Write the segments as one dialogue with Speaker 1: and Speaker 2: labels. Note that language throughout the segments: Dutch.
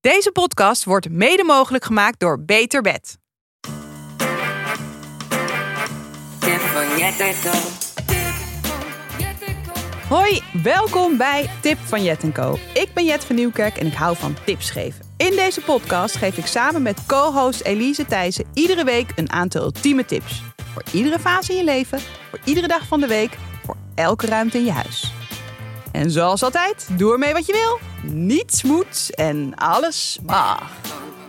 Speaker 1: Deze podcast wordt mede mogelijk gemaakt door Beter Bed.
Speaker 2: Tip van Jette Co.
Speaker 1: Hoi, welkom bij Tip van Jet Co. Ik ben Jet van Nieuwkerk en ik hou van tips geven. In deze podcast geef ik samen met co-host Elise Thijssen iedere week een aantal ultieme tips. Voor iedere fase in je leven, voor iedere dag van de week, voor elke ruimte in je huis. En zoals altijd, doe ermee wat je wil. Niets moet en alles mag.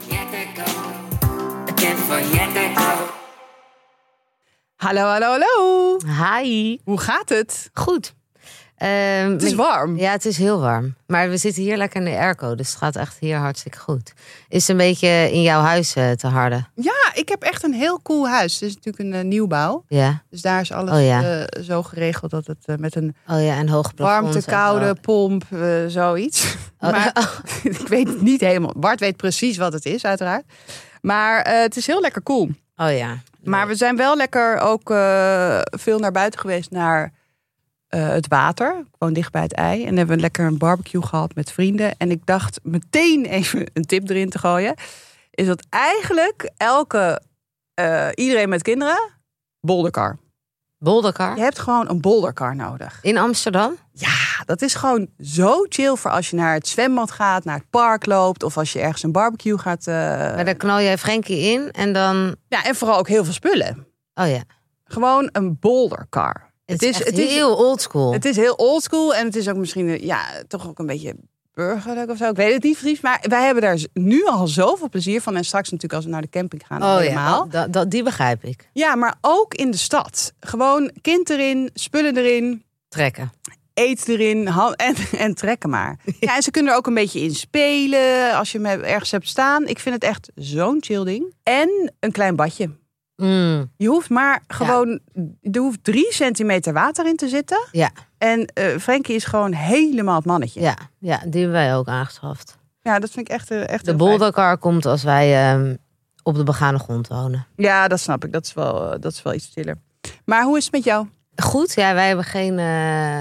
Speaker 2: Jette Co. Tip van Jette Co.
Speaker 1: Hallo, hallo, hallo.
Speaker 3: Hi.
Speaker 1: Hoe gaat het?
Speaker 3: Goed. Ehm,
Speaker 1: Het is
Speaker 3: ik-
Speaker 1: warm.
Speaker 3: Ja, het is heel warm. Maar we zitten hier lekker in de airco, dus het gaat echt hier hartstikke goed. Is het een beetje in jouw huis eh, te harde?
Speaker 1: Ja, ik heb echt een heel cool huis. Het is natuurlijk een eh, nieuwbouw.
Speaker 3: Ja.
Speaker 1: Dus daar is alles
Speaker 3: Oh ja.
Speaker 1: eh, zo geregeld dat het eh, met een
Speaker 3: Oh ja, en hoog plafond.
Speaker 1: warmte,
Speaker 3: en zo.
Speaker 1: koude pomp, eh, zoiets.
Speaker 3: Oh,
Speaker 1: maar ik weet het niet helemaal. Bart weet precies wat het is, uiteraard. Maar eh, het is heel lekker cool.
Speaker 3: Oh ja.
Speaker 1: Maar we zijn wel lekker ook eh, veel naar buiten geweest naar eh, het water. Gewoon dicht bij het ei. En hebben we lekker een barbecue gehad met vrienden. En ik dacht meteen even een tip erin te gooien. Is dat eigenlijk elke, eh, iedereen met kinderen, bolderkar.
Speaker 3: Bolderkar.
Speaker 1: Je hebt gewoon een bolderkar nodig.
Speaker 3: In Amsterdam?
Speaker 1: Ja, dat is gewoon zo chill voor als je naar het zwembad gaat, naar het park loopt. Of als je ergens een barbecue gaat. eh,
Speaker 3: Maar dan knal jij Frenkie in en dan...
Speaker 1: Ja, en vooral ook heel veel spullen.
Speaker 3: Oh ja.
Speaker 1: Gewoon een bolderkar.
Speaker 3: Het, is, echt heel oldschool.
Speaker 1: Het is heel oldschool en het is ook misschien eh, ja, toch ook een beetje burgerlijk of zo. Ik weet het niet, Fries. Maar wij hebben daar z- nu al zoveel plezier van. En straks natuurlijk als we naar de camping gaan
Speaker 3: Oh
Speaker 1: helemaal.
Speaker 3: ja,
Speaker 1: Ja.
Speaker 3: dat, dat, die begrijp ik.
Speaker 1: maar ook in de stad. Gewoon kind erin, spullen erin,
Speaker 3: Trekken.
Speaker 1: eet erin ha- en, en trekken maar. Ja, en ze kunnen er ook een beetje in spelen als je hem heb- ergens hebt staan. Ik vind het echt zo'n chill ding. En een klein badje.
Speaker 3: Mm,
Speaker 1: Je hoeft maar gewoon, er hoeft drie centimeter water in te zitten.
Speaker 3: Ja,
Speaker 1: En eh Frenkie is gewoon helemaal het mannetje.
Speaker 3: ja, ja, die hebben wij ook aangeschaft.
Speaker 1: Ja, dat vind ik echt, eh, echt
Speaker 3: De
Speaker 1: heel fijn.
Speaker 3: bolderkar komt als wij ehm, op de begane grond wonen.
Speaker 1: Ja, dat snap ik. Dat is wel, eh, dat is wel iets stiller. Maar hoe is het met jou?
Speaker 3: Oh, Goed, ja, wij hebben geen eh,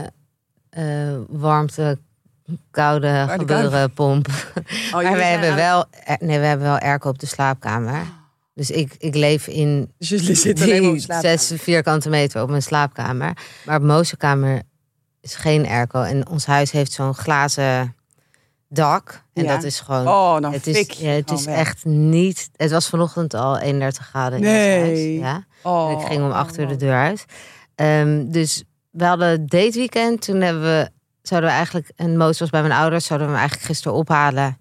Speaker 3: eh, warmte, koude
Speaker 1: koude- Oh,
Speaker 3: gebeurenpomp. maar we hebben, wel, eh, nee, we hebben wel airco op de slaapkamer. Dus ik, ik leef in
Speaker 1: Dus jullie zitten Ah. alleen op
Speaker 3: die
Speaker 1: slaap.
Speaker 3: zes vierkante meter op mijn slaapkamer. Maar op Moze kamer is geen airco. En ons huis heeft zo'n glazen dak. En
Speaker 1: Ja.
Speaker 3: dat is gewoon...
Speaker 1: Oh, dan
Speaker 3: het
Speaker 1: fik
Speaker 3: is,
Speaker 1: je
Speaker 3: ja, het
Speaker 1: gewoon
Speaker 3: is
Speaker 1: weg.
Speaker 3: echt niet... Het was vanochtend al 31 graden in
Speaker 1: Nee.
Speaker 3: ons huis. Ja.
Speaker 1: Oh,
Speaker 3: En ik ging om
Speaker 1: oh,
Speaker 3: acht uur de
Speaker 1: oh.
Speaker 3: deur uit. Ehm, dus we hadden dateweekend. Toen hebben we, zouden we eigenlijk, en Moos was bij mijn ouders, zouden we hem eigenlijk gisteren ophalen.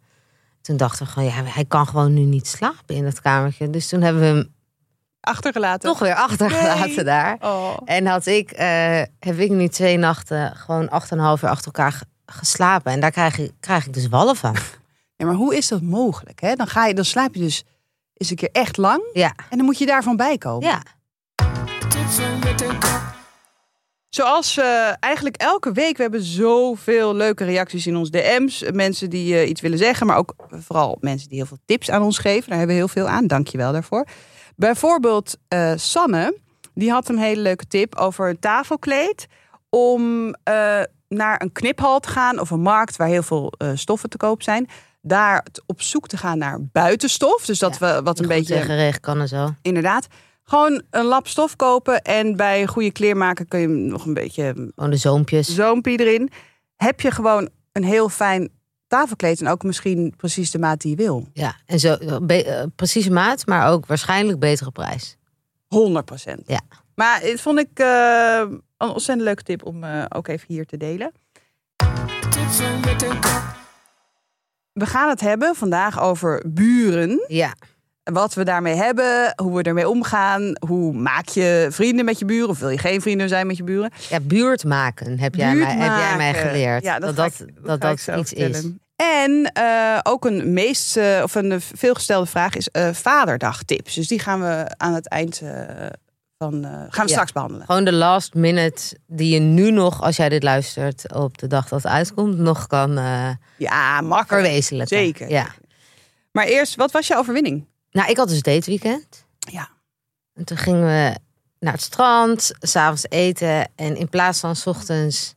Speaker 3: Toen dachten we gewoon, ja, hij kan gewoon nu niet slapen in dat kamertje. Dus toen hebben we hem
Speaker 1: oh. Achtergelaten.
Speaker 3: toch weer achtergelaten
Speaker 1: Nee.
Speaker 3: daar.
Speaker 1: Oh.
Speaker 3: En had ik, eh, heb ik nu twee nachten gewoon acht en een half uur achter elkaar ge- geslapen. En daar krijg ik, krijg ik dus wallen van.
Speaker 1: Ja, maar hoe is dat mogelijk? Hè? Dan, ga je, dan slaap je dus eens een keer echt lang.
Speaker 3: Ja,
Speaker 1: En dan moet je daarvan bijkomen.
Speaker 3: ja.
Speaker 1: Zoals eh, eigenlijk elke week, we hebben zoveel leuke reacties in ons DM's. Mensen die eh, iets willen zeggen, maar ook eh, vooral mensen die heel veel tips aan ons geven. Daar hebben we heel veel aan. Dank je wel daarvoor. Bijvoorbeeld eh, Sanne, die had een hele leuke tip over een tafelkleed. Om eh, naar een kniphal te gaan of een markt waar heel veel eh, stoffen te koop zijn. Daar t- op zoek te gaan naar buitenstof. Dus dat we wat een
Speaker 3: Goed
Speaker 1: beetje
Speaker 3: Tegen regen kan en zo.
Speaker 1: inderdaad. Gewoon een lap stof kopen en bij een goede kleermaker kun je hem nog een beetje
Speaker 3: Gewoon de zoompjes.
Speaker 1: zoompie erin. Heb je gewoon een heel fijn tafelkleed en ook misschien precies de maat die je wil.
Speaker 3: Ja, en zo, be- eh, precieze maat, maar ook waarschijnlijk betere prijs.
Speaker 1: 100 procent.
Speaker 3: Ja.
Speaker 1: Maar het vond ik eh, een ontzettend leuke tip om eh, ook even hier te delen. We gaan het hebben vandaag over buren.
Speaker 3: Ja,
Speaker 1: wat we daarmee hebben, hoe we ermee omgaan. Hoe maak je vrienden met je buren? Of wil je geen vrienden zijn met je buren?
Speaker 3: ja buurt maken heb jij,
Speaker 1: Buurt
Speaker 3: mij, heb jij mij
Speaker 1: maken.
Speaker 3: geleerd.
Speaker 1: Ja, dat,
Speaker 3: dat
Speaker 1: ga
Speaker 3: dat,
Speaker 1: ik-
Speaker 3: dat,
Speaker 1: ga ik
Speaker 3: dat
Speaker 1: zo
Speaker 3: iets is.
Speaker 1: vertellen. En eh, ook een meest eh, of een eh, veelgestelde vraag is eh vaderdag tips. Dus die gaan we aan het eind eh, van eh, gaan we
Speaker 3: Ja.
Speaker 1: straks behandelen.
Speaker 3: Gewoon de last minute die je nu nog, als jij dit luistert, op de dag dat het uitkomt, nog kan eh
Speaker 1: Ja, makkelijk.
Speaker 3: verwezenlijken.
Speaker 1: Zeker.
Speaker 3: Ja.
Speaker 1: Maar eerst, wat was je overwinning?
Speaker 3: Nou, ik had dus dateweekend.
Speaker 1: Ja.
Speaker 3: En toen gingen we naar het strand, s'avonds eten. En in plaats van 's ochtends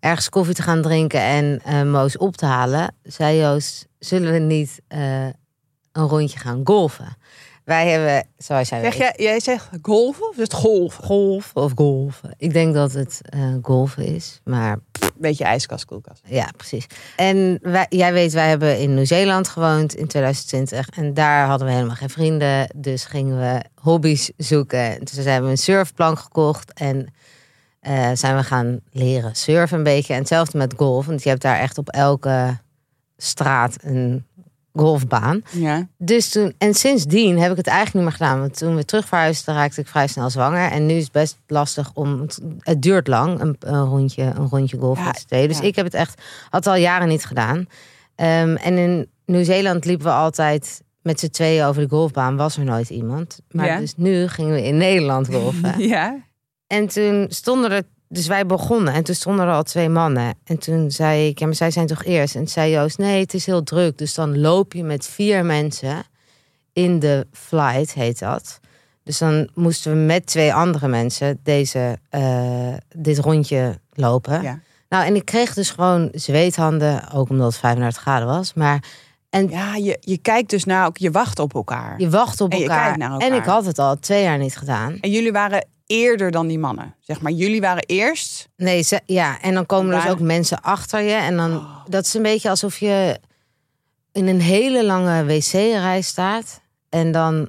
Speaker 3: ergens koffie te gaan drinken en eh, Moos op te halen, zei Joost, zullen we niet eh, een rondje gaan golven? Wij hebben, zoals jij
Speaker 1: Zeg
Speaker 3: weet,
Speaker 1: jij, jij zegt golven of is het golven?
Speaker 3: golf of golven. Ik denk dat het eh, golven is, maar
Speaker 1: Beetje ijskast, koelkast.
Speaker 3: ja, precies. En wij, jij weet, wij hebben in Nieuw-Zeeland gewoond in 2020. En daar hadden we helemaal geen vrienden. Dus gingen we hobby's zoeken. En toen zijn we een surfplank gekocht. En eh, zijn we gaan leren surfen een beetje. En hetzelfde met golf. Want je hebt daar echt op elke straat een golfbaan.
Speaker 1: Ja.
Speaker 3: Dus toen, en sindsdien heb ik het eigenlijk niet meer gedaan. Want toen we terug verhuisden, raakte ik vrij snel zwanger. En nu is het best lastig om. Het, het duurt lang, een, een rondje, een rondje golf
Speaker 1: Ja,
Speaker 3: met z'n tweeën. Dus
Speaker 1: ja.
Speaker 3: ik heb het echt had al jaren niet gedaan. Ehm, en in Nieuw-Zeeland liepen we altijd met z'n tweeën over de golfbaan. Was er nooit iemand. Maar
Speaker 1: Ja.
Speaker 3: dus nu gingen we in Nederland golfen.
Speaker 1: Ja.
Speaker 3: En toen stonden er, dus wij begonnen en toen stonden er al twee mannen. En toen zei ik, ja, maar zij zijn toch eerst? En toen zei Joost, nee, het is heel druk. Dus dan loop je met vier mensen in de flight, heet dat. Dus dan moesten we met twee andere mensen deze, eh, dit rondje lopen.
Speaker 1: Ja.
Speaker 3: Nou, en ik kreeg dus gewoon zweethanden, ook omdat het 35 graden was. Maar
Speaker 1: Ja, je, je kijkt dus naar elkaar, je wacht op elkaar.
Speaker 3: je wacht op
Speaker 1: En je
Speaker 3: elkaar.
Speaker 1: kijkt naar elkaar.
Speaker 3: En ik had het al twee jaar niet gedaan.
Speaker 1: En jullie waren eerder dan die mannen. Zeg maar, jullie waren eerst.
Speaker 3: Nee, ze- ja, en dan komen er dus
Speaker 1: Waar- Oh.
Speaker 3: ook mensen achter je. En dan, dat is een beetje alsof je in een hele lange wc-rij staat. En dan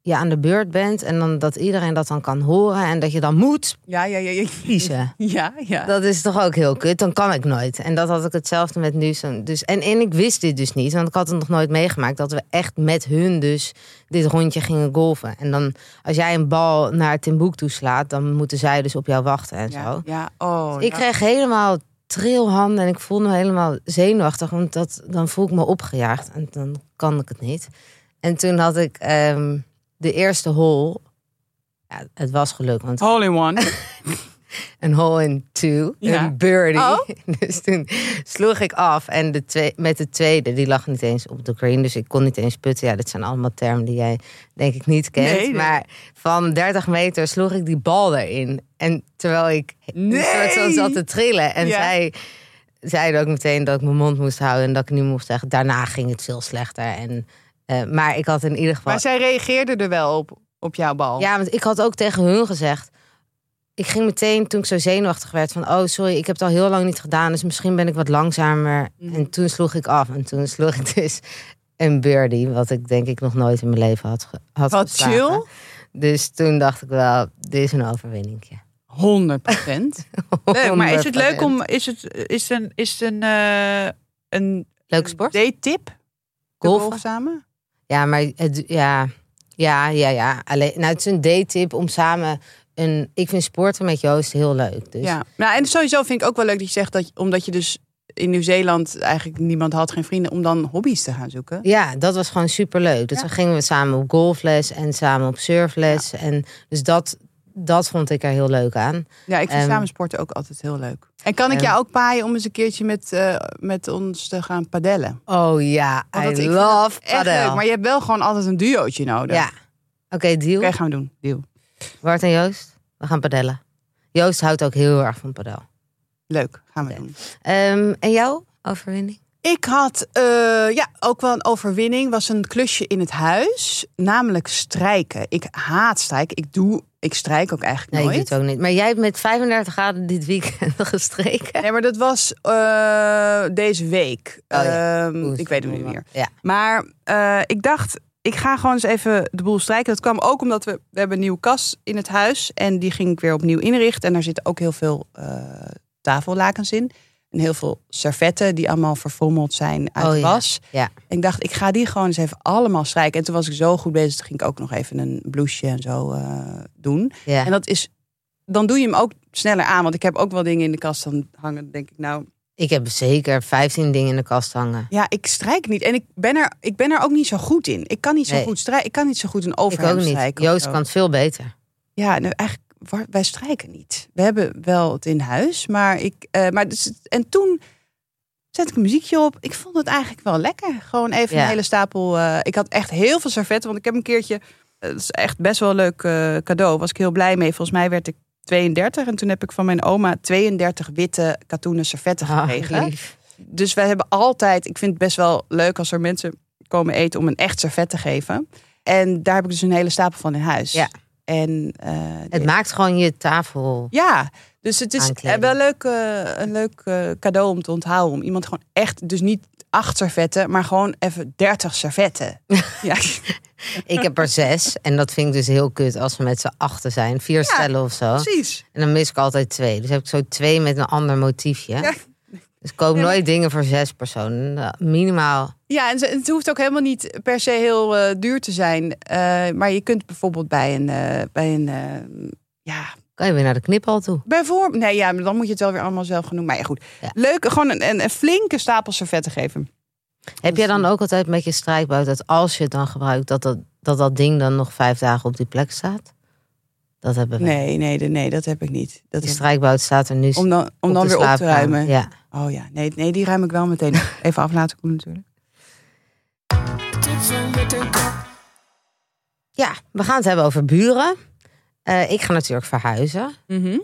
Speaker 3: je aan de beurt bent. En dan dat iedereen dat dan kan horen. En dat je dan moet
Speaker 1: Ja, ja, ja. Ja,
Speaker 3: kiezen.
Speaker 1: ja. ja.
Speaker 3: Dat is toch ook heel kut. Dan kan ik nooit. En dat had ik hetzelfde met nu. zo'n- Dus, en, en ik wist dit dus niet. Want ik had het nog nooit meegemaakt. Dat we echt met hun dus dit rondje gingen golven. En dan als jij een bal naar Timbuktu slaat. Dan moeten zij dus op jou wachten en zo.
Speaker 1: ja, ja. Oh,
Speaker 3: Ik
Speaker 1: dat-
Speaker 3: kreeg helemaal trilhanden en ik voelde me helemaal zenuwachtig. Want dat, dan voel ik me opgejaagd en dan kan ik het niet. En toen had ik ehm, de eerste hole. Ja, het was gelukt, want
Speaker 1: Hole in one.
Speaker 3: een hole in two,
Speaker 1: Ja.
Speaker 3: een birdie.
Speaker 1: Oh.
Speaker 3: Dus toen sloeg ik af en de twee, met de tweede, die lag niet eens op de green. Dus ik kon niet eens putten. Ja, dit zijn allemaal termen die jij denk ik niet kent.
Speaker 1: Nee, nee.
Speaker 3: Maar van 30 meter sloeg ik die bal erin. En terwijl ik
Speaker 1: Nee.
Speaker 3: een soort van zat te trillen. En
Speaker 1: Ja.
Speaker 3: zij zeiden ook meteen dat ik mijn mond moest houden en dat ik niet moest zeggen. Daarna ging het veel slechter. En, eh, maar ik had in ieder geval...
Speaker 1: Maar zij reageerde er wel op, op jouw bal.
Speaker 3: Ja, want ik had ook tegen hun gezegd. Ik ging meteen toen ik zo zenuwachtig werd van, oh sorry, ik heb het al heel lang niet gedaan, dus misschien ben ik wat langzamer.
Speaker 1: Mhm.
Speaker 3: En toen sloeg ik af en toen sloeg ik dus een birdie, wat ik denk ik nog nooit in mijn leven had, ge- had
Speaker 1: Wat
Speaker 3: geslagen.
Speaker 1: chill.
Speaker 3: Dus toen dacht ik wel, dit is een overwinningje.
Speaker 1: 100 procent. Leuk, maar is het leuk
Speaker 3: 100%.
Speaker 1: om... Is het, is het een, is het een, eh een
Speaker 3: Leuke sport?
Speaker 1: date-tip?
Speaker 3: Golfen?
Speaker 1: Golf samen?
Speaker 3: Ja, maar het, ja, ja, ja, ja. Alleen, nou, het is een date-tip om samen een. Ik vind sporten met Joost heel leuk. Dus
Speaker 1: Ja. Nou, en sowieso vind ik ook wel leuk dat je zegt dat... Omdat je dus in Nieuw-Zeeland eigenlijk niemand had, geen vrienden... om dan hobby's te gaan zoeken.
Speaker 3: Ja, dat was gewoon superleuk. Dus
Speaker 1: Ja.
Speaker 3: dan gingen we samen op golfles en samen op surfles. En dus dat, dat vond ik er heel leuk aan.
Speaker 1: Ja, ik vind
Speaker 3: Ehm,
Speaker 1: samen sporten ook altijd heel leuk. En kan ik
Speaker 3: Ehm.
Speaker 1: jou ook paaien om eens een keertje met, eh, met ons te gaan padellen?
Speaker 3: Oh ja,
Speaker 1: Want dat- ik
Speaker 3: I
Speaker 1: vind dat
Speaker 3: love
Speaker 1: Echt leuk,
Speaker 3: padel.
Speaker 1: maar je hebt wel gewoon altijd een duootje nodig.
Speaker 3: Ja, oké, deal.
Speaker 1: Oké, gaan we doen. Deal.
Speaker 3: Bart en Joost, we gaan padellen. Joost houdt ook heel erg van padel.
Speaker 1: Leuk, gaan we
Speaker 3: Oké.
Speaker 1: doen.
Speaker 3: Ehm, en jou, overwinning?
Speaker 1: Ik had eh, ja, ook wel een overwinning. Was een klusje in het huis, namelijk strijken. Ik haat strijken. Ik doe, ik strijk ook eigenlijk
Speaker 3: Nee,
Speaker 1: nooit.
Speaker 3: ik doe het ook niet. Maar jij hebt met 35 graden dit weekend gestreken.
Speaker 1: Nee, maar dat was eh, deze week.
Speaker 3: Oh ja.
Speaker 1: Ehm, ik weet het niet meer.
Speaker 3: Ja.
Speaker 1: Maar eh, ik dacht, ik ga gewoon eens even de boel strijken. Dat kwam ook omdat we, we hebben een nieuwe kast in het huis. En die ging ik weer opnieuw inrichten. En daar zitten ook heel veel eh, tafellakens in. En heel veel servetten die allemaal verfrommeld zijn uit
Speaker 3: Oh
Speaker 1: de
Speaker 3: ja,
Speaker 1: was.
Speaker 3: ja.
Speaker 1: En ik dacht, ik ga die gewoon eens even allemaal strijken. En toen was ik zo goed bezig. Toen ging ik ook nog even een blouseje en zo eh, doen.
Speaker 3: ja.
Speaker 1: En dat is, dan doe je hem ook sneller aan. Want ik heb ook wel dingen in de kast dan hangen. denk ik, nou,
Speaker 3: Ik heb zeker 15 dingen in de kast hangen.
Speaker 1: ja, ik strijk niet. En ik ben er, ik ben er ook niet zo goed in. Ik kan niet zo
Speaker 3: Nee.
Speaker 1: goed strijken. Ik kan niet zo goed een
Speaker 3: Ik ook
Speaker 1: overhemd
Speaker 3: niet.
Speaker 1: strijken. of
Speaker 3: Joost
Speaker 1: zo.
Speaker 3: kan het veel beter.
Speaker 1: Ja, nou, eigenlijk, wa- wij strijken niet. We hebben wel het in huis. Maar ik, eh, maar dus, het- en toen zet ik een muziekje op. Ik vond het eigenlijk wel lekker. Gewoon even
Speaker 3: Ja.
Speaker 1: een hele stapel. eh, ik had echt heel veel servetten. Want ik heb een keertje, eh, dat is echt best wel een leuk eh, cadeau. Was ik heel blij mee. Volgens mij werd ik 32. En toen heb ik van mijn oma 32 witte katoenen servetten gekregen.
Speaker 3: Ah, lief.
Speaker 1: Dus wij hebben altijd, ik vind het best wel leuk als er mensen komen eten om een echt servet te geven. En daar heb ik dus een hele stapel van in huis.
Speaker 3: Ja.
Speaker 1: En, eh,
Speaker 3: Het maakt gewoon je tafel.
Speaker 1: ja, dus het is
Speaker 3: Aankleden.
Speaker 1: wel leuk, eh, een leuk eh, cadeau om te onthouden. Om iemand gewoon echt, dus niet acht servetten, maar gewoon even 30 servetten. ja.
Speaker 3: Ik heb er zes. En dat vind ik dus heel kut als we met z'n achten zijn. Vier stellen of zo.
Speaker 1: Precies.
Speaker 3: En dan mis ik altijd twee. Dus heb ik zo twee met een ander motiefje.
Speaker 1: Ja.
Speaker 3: Dus ik koop
Speaker 1: Ja, maar-
Speaker 3: nooit dingen voor zes personen. Nou, Minimaal.
Speaker 1: Ja, en ze- het hoeft ook helemaal niet per se heel eh, duur te zijn. Eh, maar je kunt bijvoorbeeld bij een, eh, bij een eh, ja,
Speaker 3: Kan je weer naar de kniphal toe.
Speaker 1: Bijvoorbeeld, nee, ja, maar dan moet je het wel weer allemaal zelf gaan doen. Maar ja, goed.
Speaker 3: Ja.
Speaker 1: Leuk, gewoon een, een, een flinke stapel servetten geven.
Speaker 3: Heb jij dan ook altijd met je strijkbout dat als je het dan gebruikt, dat dat, dat dat ding dan nog vijf dagen op die plek staat? Dat hebben we.
Speaker 1: Nee, nee, nee, nee, dat heb ik niet. Dat
Speaker 3: Die
Speaker 1: heb-
Speaker 3: strijkbout staat er nu.
Speaker 1: om dan, om
Speaker 3: op
Speaker 1: dan
Speaker 3: de
Speaker 1: weer op te
Speaker 3: slaapkamer.
Speaker 1: ruimen.
Speaker 3: Ja.
Speaker 1: Oh ja, nee, nee, die ruim ik wel meteen op. even af laten koelen natuurlijk.
Speaker 3: ja, we gaan het hebben over buren. Eh, ik ga natuurlijk verhuizen.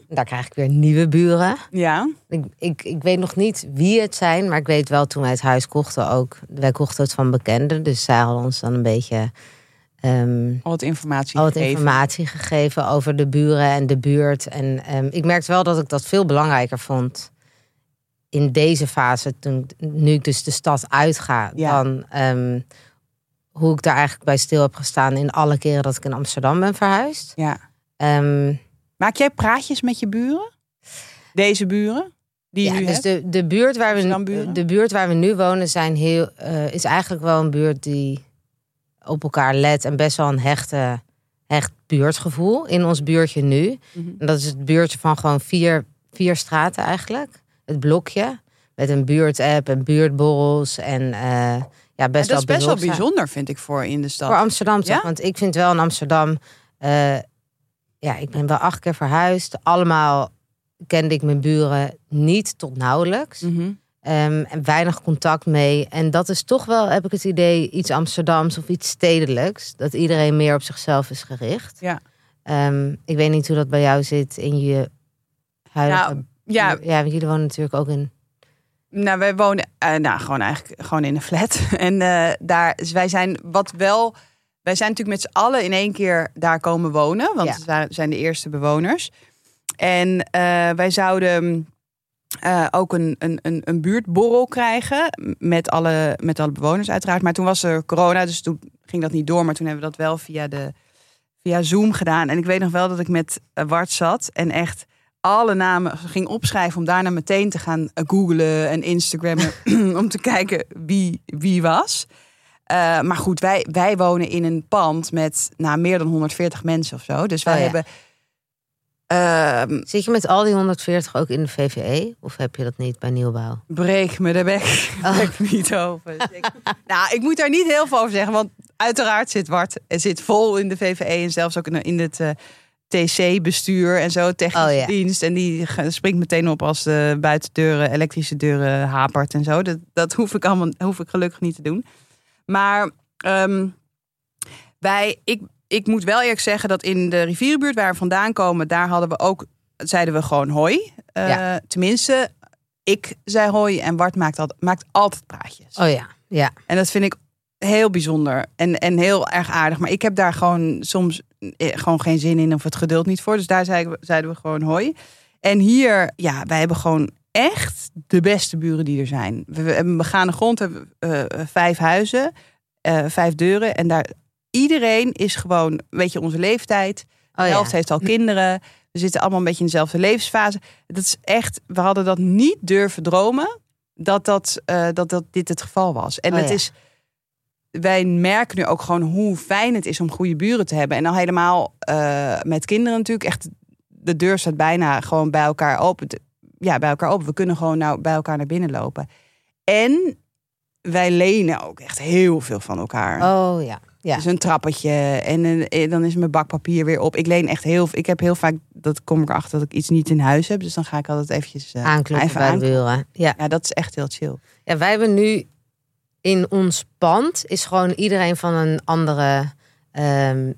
Speaker 3: Daar krijg ik weer nieuwe buren.
Speaker 1: Ja,
Speaker 3: Ik, ik, ik weet nog niet wie het zijn, maar ik weet wel toen wij het huis kochten ook. Wij kochten het van bekenden, dus zij hadden ons dan een beetje ehm,
Speaker 1: al wat informatie
Speaker 3: al wat
Speaker 1: gegeven.
Speaker 3: informatie gegeven over de buren en de buurt. En ehm, ik merkte wel dat ik dat veel belangrijker vond in deze fase, toen, nu ik dus de stad uitga,
Speaker 1: Ja.
Speaker 3: dan ehm, hoe ik daar eigenlijk bij stil heb gestaan in alle keren dat ik in Amsterdam ben verhuisd.
Speaker 1: Ja.
Speaker 3: Ehm,
Speaker 1: Maak jij praatjes met je buren? Deze buren? Die je
Speaker 3: ja,
Speaker 1: nu
Speaker 3: dus
Speaker 1: hebt?
Speaker 3: de, de, buurt waar we,
Speaker 1: Amsterdam-buren?
Speaker 3: de buurt waar we nu wonen zijn heel, eh, is eigenlijk wel een buurt die op elkaar let en best wel een hechte, hecht buurtgevoel in ons buurtje nu.
Speaker 1: Mhm.
Speaker 3: En dat is het buurtje van gewoon vier, vier straten eigenlijk. Het blokje met een buurtapp en buurtborrels en eh, ja, best
Speaker 1: En dat is
Speaker 3: wel
Speaker 1: best wel
Speaker 3: behulpzaam.
Speaker 1: bijzonder, vind ik, voor in de stad.
Speaker 3: Voor Amsterdam toch?
Speaker 1: Ja?
Speaker 3: Want ik vind wel in Amsterdam... eh, ja, ik ben wel acht keer verhuisd. Allemaal kende ik mijn buren niet tot nauwelijks.
Speaker 1: Mhm.
Speaker 3: Ehm, en weinig contact mee. En dat is toch wel, heb ik het idee, iets Amsterdams of iets stedelijks. Dat iedereen meer op zichzelf is gericht.
Speaker 1: Ja.
Speaker 3: Ehm, ik weet niet hoe dat bij jou zit in je huidige...
Speaker 1: Nou, ja,
Speaker 3: ja, want jullie wonen natuurlijk ook in...
Speaker 1: Nou, wij wonen eh, nou, gewoon eigenlijk gewoon in een flat. En eh, daar, dus wij zijn wat wel. Wij zijn natuurlijk met z'n allen in één keer daar komen wonen. Want
Speaker 3: Ja.
Speaker 1: we za- zijn de eerste bewoners. En eh, wij zouden eh, ook een, een, een, een buurtborrel krijgen. Met alle, met alle bewoners uiteraard. Maar toen was er corona, dus toen ging dat niet door. Maar toen hebben we dat wel via, de, via Zoom gedaan. En ik weet nog wel dat ik met eh, Wart zat. En echt alle namen ging opschrijven om daarna meteen te gaan eh, googlen en Instagrammen om te kijken wie wie was. Eh, maar goed, wij, wij wonen in een pand met nou, meer dan 140 mensen of zo. Dus wij
Speaker 3: Oh ja.
Speaker 1: hebben. ehm,
Speaker 3: Zit je met al die 140 ook in de VVE? Of heb je dat niet bij nieuwbouw?
Speaker 1: breek me de bek.
Speaker 3: Ah.
Speaker 1: Breek me niet over. Dus ik- nou, ik moet daar niet heel veel over zeggen. Want uiteraard zit Wart eh, zit vol in de VVE en zelfs ook in- in het eh, TC-bestuur en zo, technische
Speaker 3: Oh, ja.
Speaker 1: dienst. En die ge- springt meteen op als de buitendeuren, elektrische deuren hapert en zo. Dat, dat hoef ik allemaal, hoef ik gelukkig niet te doen. Maar ehm, wij, ik, ik moet wel eerlijk zeggen dat in de rivierenbuurt waar we vandaan komen, daar hadden we ook, zeiden we gewoon hoi. Eh,
Speaker 3: Ja.
Speaker 1: Tenminste, ik zei hoi en Bart maakt, al, maakt altijd praatjes.
Speaker 3: Oh ja, ja.
Speaker 1: En dat vind ik heel bijzonder en, en heel erg aardig. Maar ik heb daar gewoon soms eh, gewoon geen zin in of het geduld niet voor. Dus daar zeiden we, zeiden we gewoon hoi. En hier, ja, wij hebben gewoon echt de beste buren die er zijn. We, we hebben een begane grond, we hebben eh, vijf huizen, eh, vijf deuren. En daar, iedereen is gewoon, weet je, onze leeftijd.
Speaker 3: Oh
Speaker 1: De
Speaker 3: ja.
Speaker 1: helft heeft al kinderen. We zitten allemaal een beetje in dezelfde levensfase. Dat is echt, we hadden dat niet durven dromen dat, dat, eh, dat, dat dit het geval was. En
Speaker 3: Oh
Speaker 1: het
Speaker 3: ja.
Speaker 1: is, wij merken nu ook gewoon hoe fijn het is om goede buren te hebben. En al helemaal eh, met kinderen natuurlijk. Echt, de deur staat bijna gewoon bij elkaar open. De- Ja, bij elkaar open. We kunnen gewoon nou bij elkaar naar binnen lopen. En wij lenen ook echt heel veel van elkaar.
Speaker 3: Oh ja. Ja.
Speaker 1: Dus een trappetje en, een- en dan is mijn bakpapier weer op. Ik leen echt heel Ik heb heel vaak, dat kom ik erachter, dat ik iets niet in huis heb. Dus dan ga ik altijd eventjes eh,
Speaker 3: Aankloppen
Speaker 1: even
Speaker 3: bij de
Speaker 1: aankloppen.
Speaker 3: buren. Ja.
Speaker 1: Ja, dat is echt heel chill.
Speaker 3: Ja, wij hebben nu in ons pand is gewoon iedereen van een andere. ehm,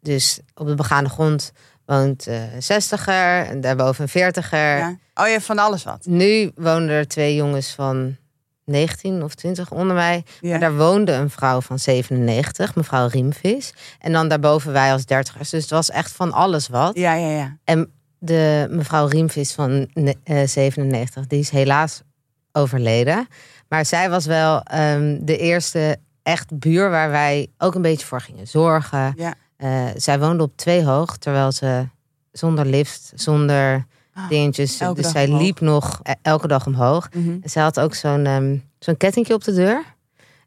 Speaker 3: dus op de begane grond woont eh, een zestiger en daarboven een 40er.
Speaker 1: Ja. Oh, je hebt van alles wat.
Speaker 3: Nu wonen er twee jongens van 19 of 20 onder mij.
Speaker 1: Ja.
Speaker 3: Maar daar woonde een vrouw van 97, mevrouw Riemvis. En dan daarboven wij als dertigers. Dus het was echt van alles wat.
Speaker 1: ja, ja, ja.
Speaker 3: En de mevrouw Riemvis van ne- eh, 97, die is helaas overleden. Maar zij was wel ehm, de eerste echt buur waar wij ook een beetje voor gingen zorgen.
Speaker 1: Ja.
Speaker 3: Eh, zij woonde op twee hoog, terwijl ze zonder lift, zonder
Speaker 1: Ah,
Speaker 3: dingetjes.
Speaker 1: elke
Speaker 3: Dus
Speaker 1: dag
Speaker 3: zij
Speaker 1: omhoog.
Speaker 3: liep nog eh, elke dag omhoog.
Speaker 1: Mhm.
Speaker 3: En Zij had ook zo'n ehm, zo'n kettingje op de deur.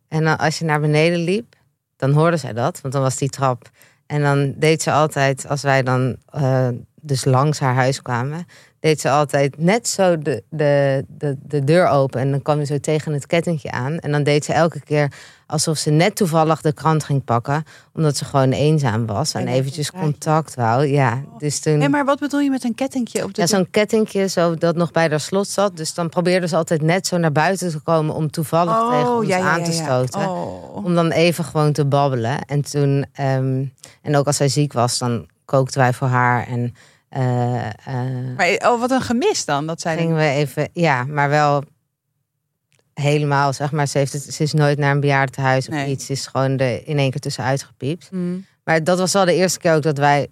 Speaker 3: En dan als je naar beneden liep, dan hoorde zij dat, want dan was die trap. En dan deed ze altijd, als wij dan eh, dus langs haar huis kwamen, deed ze altijd net zo de, de, de, de deur open. En dan kwam je zo tegen het kettingje aan. En dan deed ze elke keer alsof ze net toevallig de krant ging pakken, omdat ze gewoon eenzaam was en
Speaker 1: En dat
Speaker 3: eventjes
Speaker 1: een draadje.
Speaker 3: contact wou. Ja, dus toen.
Speaker 1: Hé, maar wat bedoel je met een kettingje op de
Speaker 3: Ja,
Speaker 1: deur?
Speaker 3: zo'n kettingje zo dat nog bij haar slot zat. Dus dan probeerden ze altijd net zo naar buiten te komen om toevallig tegen ons aan te stoten.
Speaker 1: Oh.
Speaker 3: Om dan even gewoon te babbelen. En toen, ehm, en ook als zij ziek was, dan kookten wij voor haar. En eh, eh,
Speaker 1: Maar eh, oh, wat een gemis dan dat zij.
Speaker 3: gingen we even, ja, maar wel helemaal, zeg maar. Ze, heeft het, ze is nooit naar een bejaardentehuis of
Speaker 1: Nee.
Speaker 3: iets. Ze is gewoon de, in één keer tussenuit gepiept.
Speaker 1: Mm.
Speaker 3: Maar dat was wel de eerste keer ook dat wij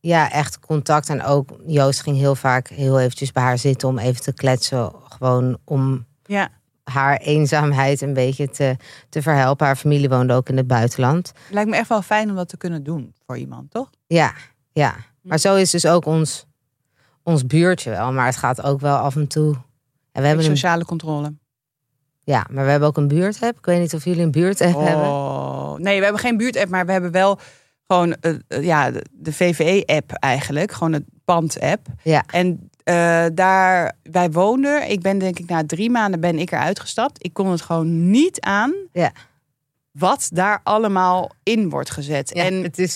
Speaker 3: ja, echt contact. En ook Joost ging heel vaak heel eventjes bij haar zitten om even te kletsen. Gewoon om
Speaker 1: Ja.
Speaker 3: haar eenzaamheid een beetje te, te verhelpen. Haar familie woonde ook in het buitenland.
Speaker 1: Lijkt me echt wel fijn om dat te kunnen doen voor iemand, toch?
Speaker 3: Ja, ja.
Speaker 1: Hm.
Speaker 3: Maar zo is dus ook ons, ons buurtje wel. Maar het gaat ook wel af en toe. En we hebben een,
Speaker 1: Sociale controle.
Speaker 3: ja, maar we hebben ook een buurtapp. Ik weet niet of jullie een buurtapp hebben.
Speaker 1: Oh. Nee, we hebben geen buurtapp, maar we hebben wel gewoon eh, eh, ja, de- de VVE-app eigenlijk. Gewoon het pand-app.
Speaker 3: Ja.
Speaker 1: En eh, daar, wij woonden. Ik ben denk ik na drie maanden ben ik eruit gestapt. Ik kon het gewoon niet aan.
Speaker 3: Ja.
Speaker 1: Wat daar allemaal in wordt gezet.
Speaker 3: Ja,
Speaker 1: en
Speaker 3: het is,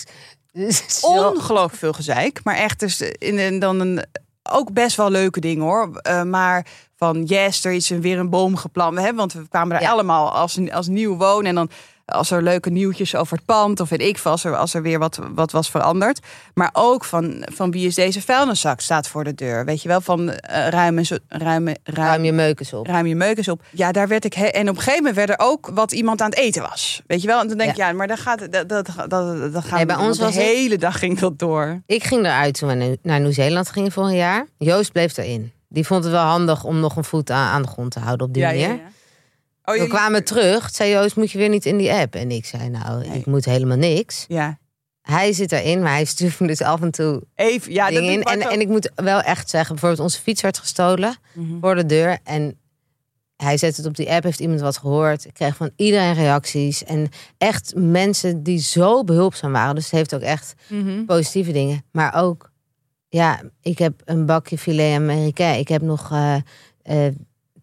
Speaker 3: het is wel-
Speaker 1: ongelooflijk veel gezeik. Maar echt, dus in, in- dan een, ook best wel leuke dingen hoor. Eh, maar van yes, er is een- weer een boom geplant. hè, want we kwamen daar
Speaker 3: Ja.
Speaker 1: allemaal als, als nieuw wonen. En dan als er leuke nieuwtjes over het pand of weet ik veel, als er, als er weer wat, wat was veranderd. Maar ook van, van wie is deze vuilniszak staat voor de deur. Weet je wel, van eh, ruim, en zo- ruim, ruim,
Speaker 3: ruim je meukens op.
Speaker 1: ruim je meuk eens op. Ja, daar werd ik. he- en op een gegeven moment werd er ook wat iemand aan het eten was. Weet je wel? En dan denk je, ja, maar dan gaat dat, dat, dat, dat, dat gaat.
Speaker 3: Nee, bij ons
Speaker 1: de
Speaker 3: was het-
Speaker 1: hele dag ging dat door.
Speaker 3: Ik ging eruit toen we nu- naar Nieuw-Zeeland gingen voor een jaar. Joost bleef erin. Die vond het wel handig om nog een voet aan, aan de grond te houden op die manier.
Speaker 1: Oh,
Speaker 3: We
Speaker 1: jullie...
Speaker 3: kwamen terug, zei Joost, moet je weer niet in die app? En ik zei, nou,
Speaker 1: Nee.
Speaker 3: ik moet helemaal niks.
Speaker 1: Ja,
Speaker 3: Hij zit erin, maar hij stuurt me dus af en toe
Speaker 1: even. Ja, dat
Speaker 3: dingen in.
Speaker 1: doet
Speaker 3: En,
Speaker 1: Bart ook.
Speaker 3: en ik moet wel echt zeggen, bijvoorbeeld onze fiets werd gestolen
Speaker 1: Mhm.
Speaker 3: voor de deur. En hij zet het op die app, heeft iemand wat gehoord. Ik kreeg van iedereen reacties. En echt mensen die zo behulpzaam waren. Dus het heeft ook echt
Speaker 1: Mhm.
Speaker 3: positieve dingen, maar ook ja, ik heb een bakje filet americain. Ik heb nog eh, eh,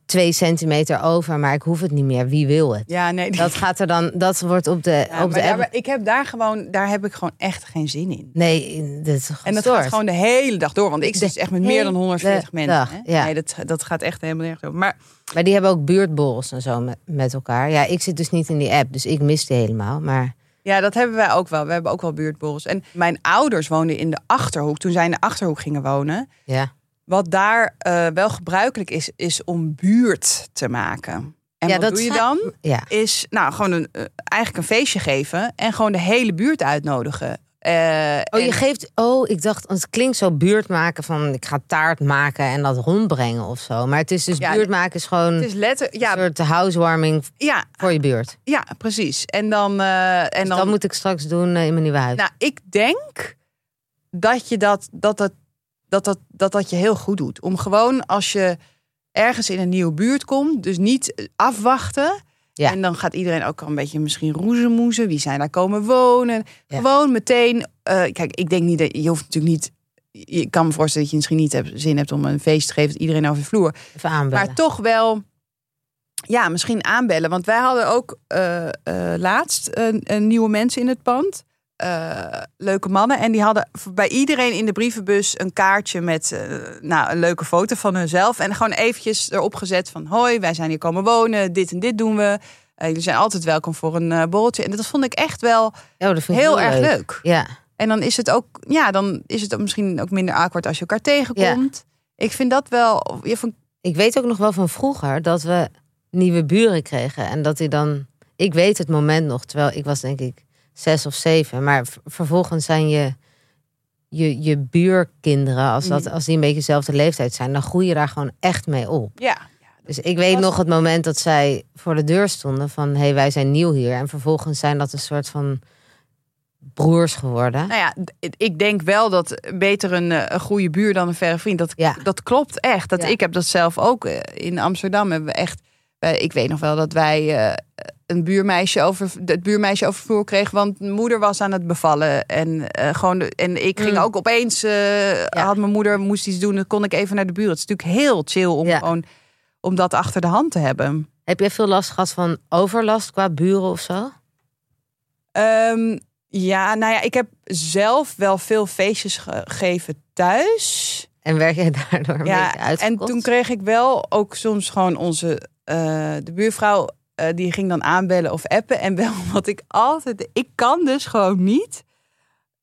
Speaker 3: twee centimeter over, maar ik hoef het niet meer. Wie wil het?
Speaker 1: Ja, nee.
Speaker 3: Dat gaat er dan, dat wordt op de,
Speaker 1: Ja,
Speaker 3: op
Speaker 1: maar
Speaker 3: de app.
Speaker 1: daar- ik heb daar gewoon, daar heb ik gewoon echt geen zin in.
Speaker 3: Nee, dat is
Speaker 1: En dat
Speaker 3: gestoord.
Speaker 1: gaat gewoon de hele dag door. Want ik
Speaker 3: De
Speaker 1: zit dus echt met meer dan 140
Speaker 3: hele
Speaker 1: mensen.
Speaker 3: dag,
Speaker 1: hè?
Speaker 3: ja.
Speaker 1: Nee, dat, dat gaat echt helemaal nergens over. Maar
Speaker 3: Maar die hebben ook buurtborrels en zo met, met elkaar. Ja, ik zit dus niet in die app, dus ik mis die helemaal. Maar
Speaker 1: Ja, dat hebben wij ook wel. We hebben ook wel buurtborrels. En mijn ouders woonden in de Achterhoek. Toen zij in de Achterhoek gingen wonen.
Speaker 3: ja,
Speaker 1: Wat daar eh, wel gebruikelijk is, is om buurt te maken. En
Speaker 3: Ja,
Speaker 1: wat
Speaker 3: dat
Speaker 1: doe je
Speaker 3: zei-
Speaker 1: dan?
Speaker 3: ja.
Speaker 1: Is nou gewoon een, eh, eigenlijk een feestje geven. En gewoon de hele buurt uitnodigen. Eh,
Speaker 3: Oh,
Speaker 1: en-
Speaker 3: je geeft. Oh, ik dacht, het klinkt zo buurt maken van ik ga taart maken en dat rondbrengen of zo. Maar het is dus
Speaker 1: Oh, Ja,
Speaker 3: buurt maken is gewoon
Speaker 1: Het is letter, ja,
Speaker 3: een soort housewarming
Speaker 1: ja,
Speaker 3: voor je buurt.
Speaker 1: ja, precies. En dan, eh, en
Speaker 3: Dus
Speaker 1: dan,
Speaker 3: dat moet ik straks doen eh, in mijn nieuwe huis.
Speaker 1: Nou, ik denk dat je dat, dat, dat, dat, dat, dat, dat je heel goed doet. Om gewoon als je ergens in een nieuwe buurt komt, dus niet afwachten.
Speaker 3: Ja.
Speaker 1: En dan gaat iedereen ook al een beetje misschien roezemoezen. Wie zijn daar komen wonen?
Speaker 3: Ja.
Speaker 1: Gewoon meteen. eh, kijk, ik denk niet dat je hoeft natuurlijk niet. Je kan me voorstellen dat je misschien niet hebt, zin hebt om een feest te geven. Dat iedereen over de vloer.
Speaker 3: Even aanbellen.
Speaker 1: Maar toch wel, ja, misschien aanbellen. Want wij hadden ook eh, eh, laatst een, een nieuwe mensen in het pand. Eh, leuke mannen. En die hadden v- bij iedereen in de brievenbus een kaartje met eh, nou, een leuke foto van hunzelf. En gewoon eventjes erop gezet van... hoi, wij zijn hier komen wonen, dit en dit doen we. Eh, jullie zijn altijd welkom voor een eh borreltje. En dat vond ik echt wel
Speaker 3: oh, dat vind ik
Speaker 1: heel erg leuk.
Speaker 3: Ja.
Speaker 1: En dan is het ook, ja, dan is het ook misschien ook minder awkward als je elkaar tegenkomt. Ik vind dat wel. Je van,
Speaker 3: Ik weet ook nog wel van vroeger dat we nieuwe buren kregen. En dat hij dan... Ik weet het moment nog, terwijl ik was denk ik zes of zeven. Maar v- vervolgens zijn je, je, je buurkinderen, als,
Speaker 1: Mm.
Speaker 3: dat, als die een beetje dezelfde leeftijd zijn... dan groei je daar gewoon echt mee op.
Speaker 1: ja.
Speaker 3: Dus ik weet
Speaker 1: was-
Speaker 3: nog het moment dat zij voor de deur stonden van... hé, hey, wij zijn nieuw hier. En vervolgens zijn dat een soort van broers geworden.
Speaker 1: Nou ja, d- ik denk wel dat beter een, eh, een goede buur dan een verre vriend. Dat,
Speaker 3: Ja.
Speaker 1: dat klopt echt. Dat,
Speaker 3: Ja.
Speaker 1: Ik heb dat zelf ook eh, in Amsterdam. Hebben we echt, eh, ik weet nog wel dat wij eh, een buurmeisje over, het buurmeisje over de vloer kregen. Want mijn moeder was aan het bevallen. En, eh, gewoon de- en ik ging
Speaker 3: Mm.
Speaker 1: ook opeens, eh, had mijn moeder moest iets doen. Dan kon ik even naar de buurt. Het is natuurlijk heel chill om,
Speaker 3: Ja.
Speaker 1: gewoon, om dat achter de hand te hebben.
Speaker 3: Heb jij veel last gehad van overlast qua buren of zo?
Speaker 1: Ehm, ja, nou ja, ik heb zelf wel veel feestjes gegeven thuis.
Speaker 3: En werd jij daardoor een beetje
Speaker 1: en
Speaker 3: uitgekotst?
Speaker 1: toen kreeg ik wel ook soms gewoon onze eh, de buurvrouw eh, die ging dan aanbellen of appen en wel wat ik altijd ik kan dus gewoon niet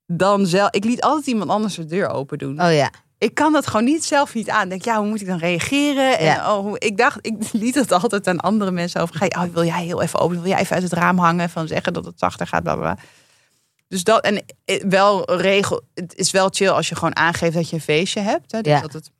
Speaker 1: dan zelf ik liet altijd iemand anders de deur open doen.
Speaker 3: Oh ja,
Speaker 1: Ik kan dat gewoon niet zelf niet aan. Denk ja, hoe moet ik dan reageren? En
Speaker 3: Ja.
Speaker 1: oh, hoe- ik dacht ik liet het altijd aan andere mensen over. Ga je, oh, wil jij heel even open? Wil jij even uit het raam hangen van zeggen dat het zachter gaat bla bla. bla. Dus dat en eh, wel regel het is wel chill als je gewoon aangeeft dat je een feestje hebt hè, dus
Speaker 3: Ja.
Speaker 1: dat het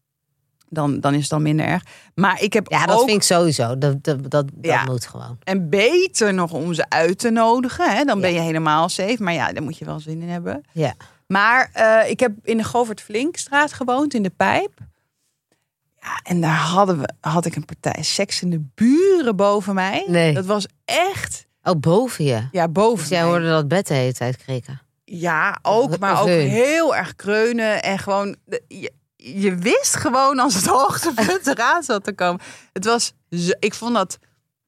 Speaker 1: dan, dan is het dan minder erg. Maar ik heb
Speaker 3: ja dat
Speaker 1: ook
Speaker 3: vind ik sowieso. Dat, dat, dat, dat
Speaker 1: Ja.
Speaker 3: moet gewoon.
Speaker 1: en beter nog om ze uit te nodigen. Hè? Dan ben
Speaker 3: Ja.
Speaker 1: je helemaal safe. Maar ja, daar moet je wel zin in hebben.
Speaker 3: Ja.
Speaker 1: Maar eh, ik heb in de Govert Flinkstraat gewoond, in de Pijp. Ja, en daar hadden we, had ik een partij seks in de buren boven mij.
Speaker 3: Nee.
Speaker 1: Dat was echt,
Speaker 3: Oh, boven je.
Speaker 1: ja, boven
Speaker 3: Dus jij
Speaker 1: mij.
Speaker 3: hoorde dat bed de hele tijd krieken.
Speaker 1: Ja, ook, maar
Speaker 3: Of
Speaker 1: ook
Speaker 3: hun.
Speaker 1: heel erg kreunen. En gewoon, de- je, je wist gewoon als het hoogtepunt eraan zat te komen. Het was, zo- ik vond dat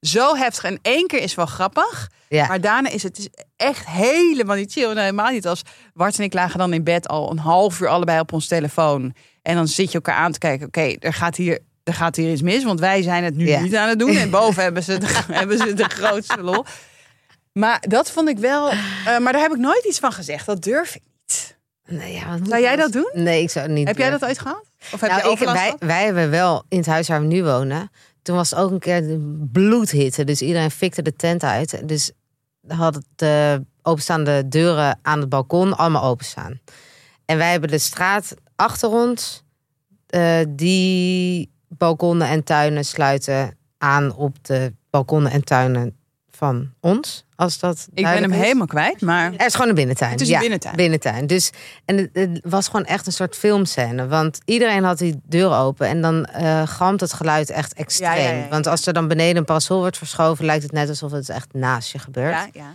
Speaker 1: zo heftig. En één keer is wel grappig.
Speaker 3: Ja.
Speaker 1: Maar daarna is het is echt helemaal niet chill. Nou, helemaal niet. Als Bart en ik lagen dan in bed al een half uur allebei op ons telefoon. En dan zit je elkaar aan te kijken. Oké, er gaat hier... Er gaat hier iets mis, want wij zijn het nu
Speaker 3: Ja.
Speaker 1: niet aan het doen. En boven hebben ze de, hebben ze de grootste lol. Maar dat vond ik wel. eh, maar daar heb ik nooit iets van gezegd. Dat durf ik niet.
Speaker 3: Nee, ja, wat moet
Speaker 1: Zou
Speaker 3: ik
Speaker 1: jij
Speaker 3: nou-
Speaker 1: dat doen?
Speaker 3: Nee, ik zou het niet
Speaker 1: Heb jij
Speaker 3: durven.
Speaker 1: dat ooit gehad? Of heb
Speaker 3: Nou,
Speaker 1: je
Speaker 3: ik-
Speaker 1: overlast
Speaker 3: wij,
Speaker 1: gehad?
Speaker 3: wij hebben wel in het huis waar we nu wonen. Toen was het ook een keer de bloedhitte. Dus iedereen fikte de tent uit. Dus hadden de openstaande deuren aan het balkon allemaal openstaan. En wij hebben de straat achter ons. eh, die balkonnen en tuinen sluiten aan op de balkonnen en tuinen van ons. Als dat
Speaker 1: Ik ben hem helemaal kwijt, maar
Speaker 3: Er is gewoon een binnentuin.
Speaker 1: het is
Speaker 3: ja.
Speaker 1: een binnentuin.
Speaker 3: Binnentuin. Dus, en het, het was gewoon echt een soort filmscène. Want iedereen had die deur open. En dan eh gramt het geluid echt extreem.
Speaker 1: Ja, ja, ja, ja.
Speaker 3: Want als er dan beneden een parasol wordt verschoven... lijkt het net alsof het echt naast je gebeurt.
Speaker 1: Ja, ja.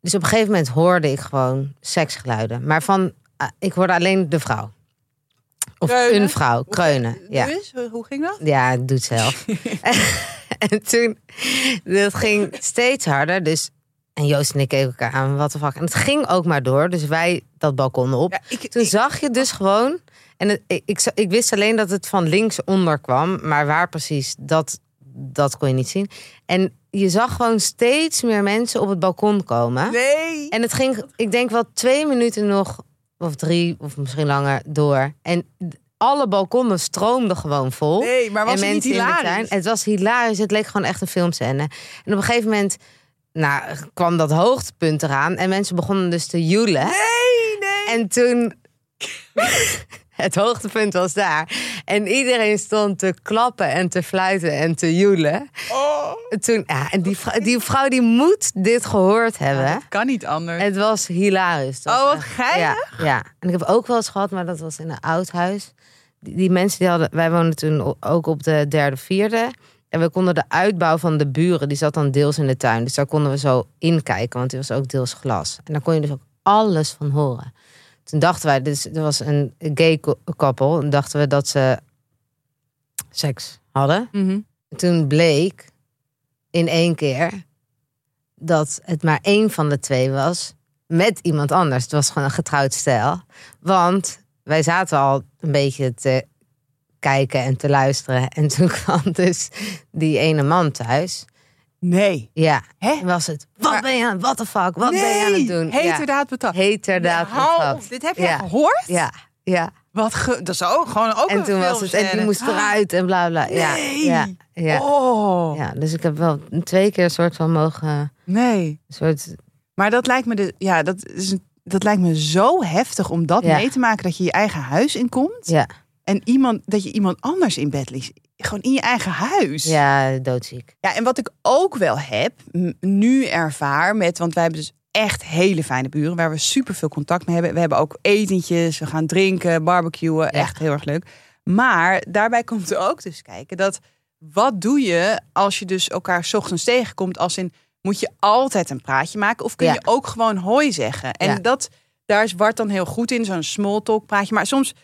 Speaker 3: Dus op een gegeven moment hoorde ik gewoon seksgeluiden. Maar van... ah, ik hoorde alleen de vrouw. Of
Speaker 1: Kreunen.
Speaker 3: een vrouw. Kreunen. Ja.
Speaker 1: Dus, hoe ging dat?
Speaker 3: Ja, het doet zelf. en toen, dat ging steeds harder. Dus, en Joost en ik keken elkaar aan, wat de fuck. En het ging ook maar door, dus wij dat balkon op.
Speaker 1: Ja, ik,
Speaker 3: Toen
Speaker 1: ik-
Speaker 3: zag je dus gewoon, en het- ik, ik, za- ik wist alleen dat het van links onder kwam, maar waar precies, dat, dat kon je niet zien. En je zag gewoon steeds meer mensen op het balkon komen.
Speaker 1: nee.
Speaker 3: En het ging, ik denk wel twee minuten nog, of drie, of misschien langer, door. En alle balkonnen stroomden gewoon vol.
Speaker 1: Nee, maar was
Speaker 3: en
Speaker 1: het niet
Speaker 3: mensen in de tuin.
Speaker 1: hilarisch?
Speaker 3: Het was hilarisch. Het leek gewoon echt een filmscène. En op een gegeven moment nou, kwam dat hoogtepunt eraan. En mensen begonnen dus te joelen.
Speaker 1: Nee, nee.
Speaker 3: En toen... het hoogtepunt was daar. En iedereen stond te klappen en te fluiten en te joelen.
Speaker 1: Oh.
Speaker 3: En Toen, ja, en die vrou- die vrouw die moet dit gehoord hebben.
Speaker 1: Dat kan niet anders.
Speaker 3: Het was hilarisch. Het was
Speaker 1: Oh, wat
Speaker 3: echt-
Speaker 1: geinig.
Speaker 3: Ja, ja, en ik heb ook wel eens gehad, maar dat was in een oud huis. Die, die mensen die hadden, wij woonden toen o- ook op de derde, vierde. En we konden de uitbouw van de buren, die zat dan deels in de tuin. Dus daar konden we zo inkijken, want die was ook deels glas. En daar kon je dus ook alles van horen. Toen dachten wij, dus, er was een gay ko- koppel. En dachten we dat ze seks hadden
Speaker 1: Mhm.
Speaker 3: toen bleek in één keer dat het maar één van de twee was met iemand anders. Het was gewoon een getrouwd stijl. Want wij zaten al een beetje te kijken en te luisteren. En toen kwam dus die ene man thuis.
Speaker 1: Nee.
Speaker 3: Ja.
Speaker 1: Hè?
Speaker 3: En was het, wat
Speaker 1: Maar-
Speaker 3: ben je aan, what the fuck, wat ben je aan
Speaker 1: Nee.
Speaker 3: het doen? ja.
Speaker 1: Heterdaad betaald.
Speaker 3: Heterdaad
Speaker 1: Hou
Speaker 3: betaald.
Speaker 1: op, Dit heb je
Speaker 3: Ja.
Speaker 1: gehoord?
Speaker 3: Ja, ja.
Speaker 1: Wat ge- dat is ook gewoon ook
Speaker 3: En
Speaker 1: een Ah.
Speaker 3: toen was het, en die
Speaker 1: filmscène.
Speaker 3: moest eruit en bla bla. Ja,
Speaker 1: Nee.
Speaker 3: ja, ja.
Speaker 1: Oh,
Speaker 3: ja. Dus ik heb wel twee keer een soort van mogen, een
Speaker 1: nee.
Speaker 3: soort,
Speaker 1: Maar dat lijkt me, de, ja, dat, is, een- dat lijkt me zo heftig om dat
Speaker 3: Ja.
Speaker 1: mee te maken dat je je eigen huis inkomt.
Speaker 3: Ja.
Speaker 1: En iemand, dat je iemand anders in bed ligt. Gewoon in je eigen huis.
Speaker 3: ja, doodziek.
Speaker 1: Ja, en wat ik ook wel heb, m- nu ervaar met, want wij hebben dus echt hele fijne buren waar we super veel contact mee hebben. We hebben ook etentjes, we gaan drinken, barbecuen, echt heel erg leuk. Maar daarbij komt ook dus kijken dat wat doe je als je dus elkaar 's ochtends tegenkomt, als in moet je altijd een praatje maken of kun
Speaker 3: Ja.
Speaker 1: je ook gewoon hoi zeggen? En
Speaker 3: Ja.
Speaker 1: dat daar is Bart dan heel goed in, zo'n small talk praatje. Maar soms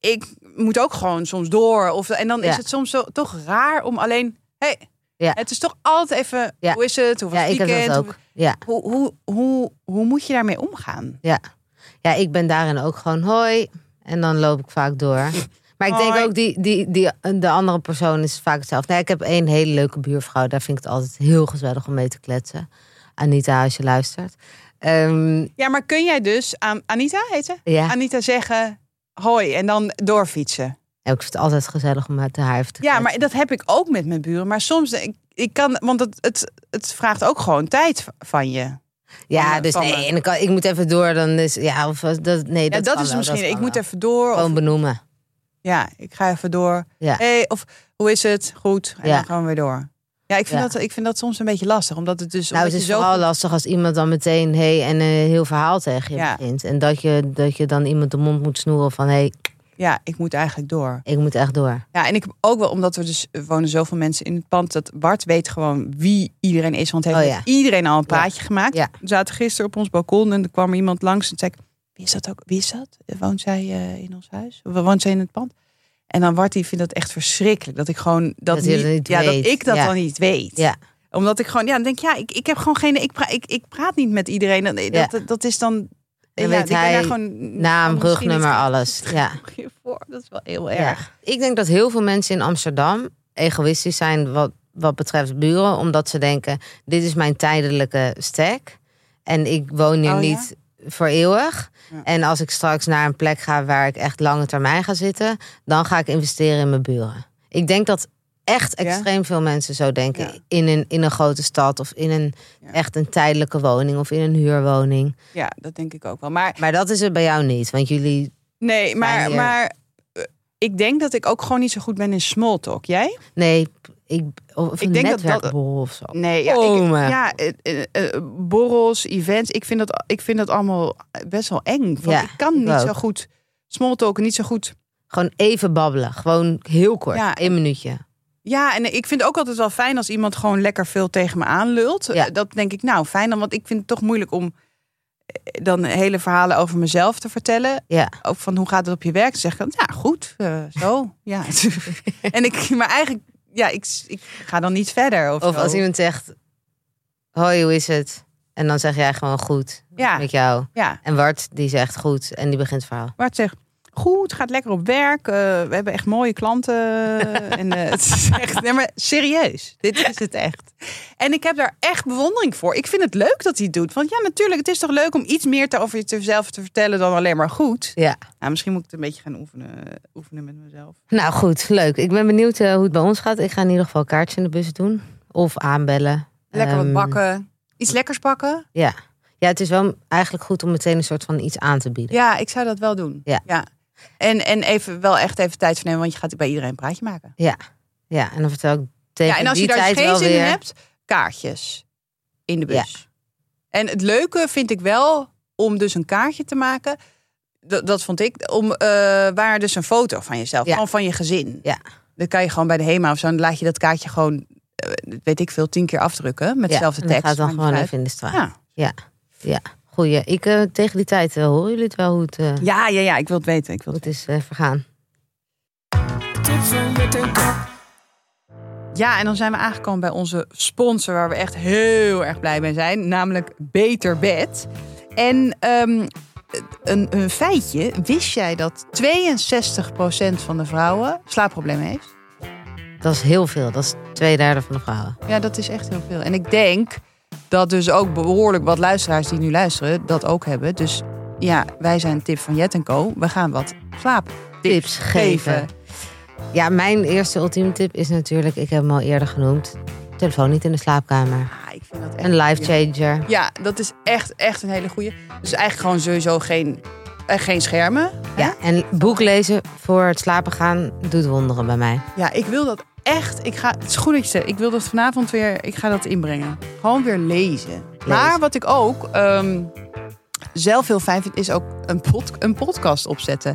Speaker 1: ik moet ook gewoon soms door. Of, en dan is
Speaker 3: Ja.
Speaker 1: het soms zo, toch raar om alleen. Hey,
Speaker 3: Ja.
Speaker 1: Het is toch altijd even.
Speaker 3: Ja.
Speaker 1: Hoe is het? Hoe was
Speaker 3: Ja,
Speaker 1: het
Speaker 3: ik heb
Speaker 1: weekend?
Speaker 3: dat ook. Ja.
Speaker 1: Hoe, hoe, hoe, hoe moet je daarmee omgaan?
Speaker 3: ja, ik ben daarin ook gewoon hoi. En dan loop ik vaak door. Maar ik denk
Speaker 1: Hoi.
Speaker 3: ook, die, die, die, de andere persoon is vaak hetzelfde. Nee, ik heb één hele leuke buurvrouw. Daar vind ik het altijd heel gezellig om mee te kletsen. Anita, als je luistert. Ehm,
Speaker 1: Ja, maar kun jij dus aan Anita heet ze?
Speaker 3: ja,
Speaker 1: Anita zeggen hoi en dan doorfietsen.
Speaker 3: Ja, ik vind het altijd gezellig om met haar even te
Speaker 1: Ja,
Speaker 3: kletsen.
Speaker 1: maar dat heb ik ook met mijn buren. Maar soms ik, ik kan, want het, het, het vraagt ook gewoon tijd v- van je.
Speaker 3: Ja,
Speaker 1: Van, eh,
Speaker 3: dus
Speaker 1: van,
Speaker 3: nee,
Speaker 1: eh,
Speaker 3: en dan kan, ik moet even door. Dan is, ja, of, eh, dat, nee,
Speaker 1: Ja,
Speaker 3: dat,
Speaker 1: dat
Speaker 3: kan
Speaker 1: is
Speaker 3: wel,
Speaker 1: misschien.
Speaker 3: kan
Speaker 1: ik moet
Speaker 3: wel.
Speaker 1: even door. Of,
Speaker 3: Gewoon benoemen.
Speaker 1: ja, ik ga even door.
Speaker 3: Ja.
Speaker 1: Hey, of hoe is het? Goed. En
Speaker 3: Ja.
Speaker 1: dan gaan we weer door. Ja, ik vind,
Speaker 3: Ja.
Speaker 1: Dat, ik vind dat soms een beetje lastig. Omdat het dus.
Speaker 3: Nou,
Speaker 1: omdat
Speaker 3: het is
Speaker 1: je zo
Speaker 3: vooral
Speaker 1: goed-
Speaker 3: lastig als iemand dan meteen hey, en een heel verhaal tegen je
Speaker 1: Ja.
Speaker 3: begint. En dat je, dat je dan iemand de mond moet snoeren van hey,
Speaker 1: Ja, ik moet eigenlijk door.
Speaker 3: ik moet echt door.
Speaker 1: Ja, en ik heb ook wel, omdat we dus er wonen zoveel mensen in het pand, dat Bart weet gewoon wie iedereen is. Want hij heeft
Speaker 3: Oh,
Speaker 1: met iedereen al een praatje gemaakt.
Speaker 3: Ja.
Speaker 1: We zaten gisteren op ons balkon en er kwam er iemand langs en zei: ik, Wie is dat ook? Wie is dat? Woont zij eh, in ons huis? Of Woont zij in het pand? En dan Bart, die vindt dat echt verschrikkelijk. Dat ik gewoon dat,
Speaker 3: Dat je dat niet
Speaker 1: ja,
Speaker 3: weet.
Speaker 1: dat ik dat
Speaker 3: Ja.
Speaker 1: dan niet weet.
Speaker 3: Ja.
Speaker 1: Omdat ik gewoon, ja, dan denk ik, ja, ik, ik heb gewoon geen, ik, pra- ik, ik praat niet met iedereen. Dat, dat, dat is dan,
Speaker 3: Dan
Speaker 1: ja,
Speaker 3: weet
Speaker 1: ik ben
Speaker 3: hij
Speaker 1: daar gewoon
Speaker 3: Naam,
Speaker 1: misschien niet
Speaker 3: rugnummer,
Speaker 1: goed
Speaker 3: alles. Ja.
Speaker 1: je voor. Dat is wel heel
Speaker 3: Ja.
Speaker 1: erg.
Speaker 3: Ik denk dat heel veel mensen in Amsterdam egoïstisch zijn wat, wat betreft buren. Omdat ze denken, dit is mijn tijdelijke stek. En ik woon hier
Speaker 1: Oh, ja?
Speaker 3: niet voor eeuwig.
Speaker 1: Ja.
Speaker 3: En als ik straks naar een plek ga waar ik echt lange termijn ga zitten... dan ga ik investeren in mijn buren. Ik denk dat echt
Speaker 1: Ja?
Speaker 3: extreem veel mensen zo denken.
Speaker 1: Ja.
Speaker 3: In, een, in een grote stad of in een
Speaker 1: Ja.
Speaker 3: echt een tijdelijke woning of in een huurwoning.
Speaker 1: Ja, dat denk ik ook wel. Maar
Speaker 3: Maar dat is het bij jou niet, want jullie...
Speaker 1: nee, maar,
Speaker 3: hier.
Speaker 1: maar eh, ik denk dat ik ook gewoon niet zo goed ben in small talk. Jij?
Speaker 3: Nee, ik, of
Speaker 1: Ik
Speaker 3: een
Speaker 1: denk dat dat-
Speaker 3: netwerkborrel of zo.
Speaker 1: Nee, ja,
Speaker 3: Oh,
Speaker 1: ik,
Speaker 3: mijn.
Speaker 1: ja eh, eh, eh, borrels, events. Ik vind dat, ik vind dat allemaal best wel eng. Want
Speaker 3: Ja,
Speaker 1: ik kan
Speaker 3: ik
Speaker 1: niet zo
Speaker 3: ook.
Speaker 1: goed small talk, niet zo goed.
Speaker 3: Gewoon even babbelen. Gewoon heel kort.
Speaker 1: Ja.
Speaker 3: Eén minuutje.
Speaker 1: Ja, en ik vind het ook altijd wel fijn als iemand gewoon lekker veel tegen me aanlult.
Speaker 3: Ja.
Speaker 1: Eh, Dat denk ik nou fijn, dan, want ik vind het toch moeilijk om eh, dan hele verhalen over mezelf te vertellen.
Speaker 3: Ja.
Speaker 1: Ook van hoe gaat het op je werk? Dan Zeg ik dan, ja, goed, eh, zo. ja. en ik, maar eigenlijk, ja, ik, ik ga dan niet verder. Of,
Speaker 3: Of
Speaker 1: zo.
Speaker 3: als iemand zegt... Hoi, hoe is het? En dan zeg jij gewoon goed.
Speaker 1: Ja.
Speaker 3: Met jou.
Speaker 1: Ja,
Speaker 3: En Wart, die zegt goed. En die begint het verhaal.
Speaker 1: Bart zegt, goed, gaat lekker op werk. eh, we hebben echt mooie klanten. en eh, het is echt, nee, maar serieus, dit is het echt. En ik heb daar echt bewondering voor. Ik vind het leuk dat hij het doet. Want ja, natuurlijk, het is toch leuk om iets meer te- over jezelf te vertellen dan alleen maar goed.
Speaker 3: Ja.
Speaker 1: Nou, misschien moet ik het een beetje gaan oefenen, oefenen met mezelf.
Speaker 3: Nou goed, leuk. Ik ben benieuwd eh, hoe het bij ons gaat. Ik ga in ieder geval een kaartje in de bus doen. Of aanbellen.
Speaker 1: Lekker wat
Speaker 3: Ehm,
Speaker 1: bakken. Iets lekkers bakken?
Speaker 3: Ja, het is wel eigenlijk goed om meteen een soort van iets aan te bieden.
Speaker 1: Ja, ik zou dat wel doen.
Speaker 3: Ja.
Speaker 1: En, en even, wel echt even tijd voor nemen, want je gaat bij iedereen een praatje maken.
Speaker 3: Ja, en dan vertel ik tegen
Speaker 1: Ja, en als
Speaker 3: die
Speaker 1: je daar
Speaker 3: tijd
Speaker 1: geen
Speaker 3: wel
Speaker 1: zin
Speaker 3: weer...
Speaker 1: in hebt, kaartjes in de bus. En het leuke vind ik wel om dus een kaartje te maken. Dat, dat vond ik. Om, eh, waar dus een foto van jezelf,
Speaker 3: Ja.
Speaker 1: gewoon van je gezin.
Speaker 3: Ja.
Speaker 1: Dan kan je gewoon bij de HEMA of zo. Dan laat je dat kaartje gewoon, eh, weet ik veel, tien keer afdrukken. Met
Speaker 3: Ja,
Speaker 1: dezelfde
Speaker 3: en dat
Speaker 1: tekst.
Speaker 3: gaat dan
Speaker 1: maakt
Speaker 3: gewoon
Speaker 1: niet
Speaker 3: even in de straat.
Speaker 1: uit. Ja.
Speaker 3: Goeie. Ik, eh, tegen die tijd eh, horen jullie het wel hoe het, eh,
Speaker 1: Ja, ja, ja, ik wil het weten. Ik wil
Speaker 3: hoe
Speaker 1: het
Speaker 3: het is eh, vergaan.
Speaker 2: Tot zometeen.
Speaker 1: Ja, en dan zijn we aangekomen bij onze sponsor, waar we echt heel erg blij mee zijn, namelijk Beter Bed. En ehm, een, een feitje, wist jij dat 62% van de vrouwen slaapproblemen heeft?
Speaker 3: Dat is heel veel. Dat is twee derde van de vrouwen.
Speaker 1: Ja, dat is echt heel veel. En ik denk dat dus ook behoorlijk wat luisteraars die nu luisteren dat ook hebben. Dus ja, wij zijn tip van Jet en Co. We gaan wat slaaptips
Speaker 3: Tips geven.
Speaker 1: geven.
Speaker 3: Ja, mijn eerste ultieme tip is natuurlijk, ik heb hem al eerder genoemd. Telefoon niet in de slaapkamer.
Speaker 1: Ah, ik vind dat echt
Speaker 3: Een life
Speaker 1: goeie.
Speaker 3: changer.
Speaker 1: Ja, dat is echt, echt een hele goeie. Dus eigenlijk gewoon sowieso geen, eh, geen schermen.
Speaker 3: Ja, en boek lezen voor het slapen gaan doet wonderen bij mij.
Speaker 1: Ja, ik wil dat echt. Ik ga, het is goed dat je zegt. Ik wil dat vanavond weer. Ik ga dat inbrengen. Gewoon weer lezen. Maar wat ik ook ehm, zelf heel fijn vind, is ook een, pod, een podcast opzetten.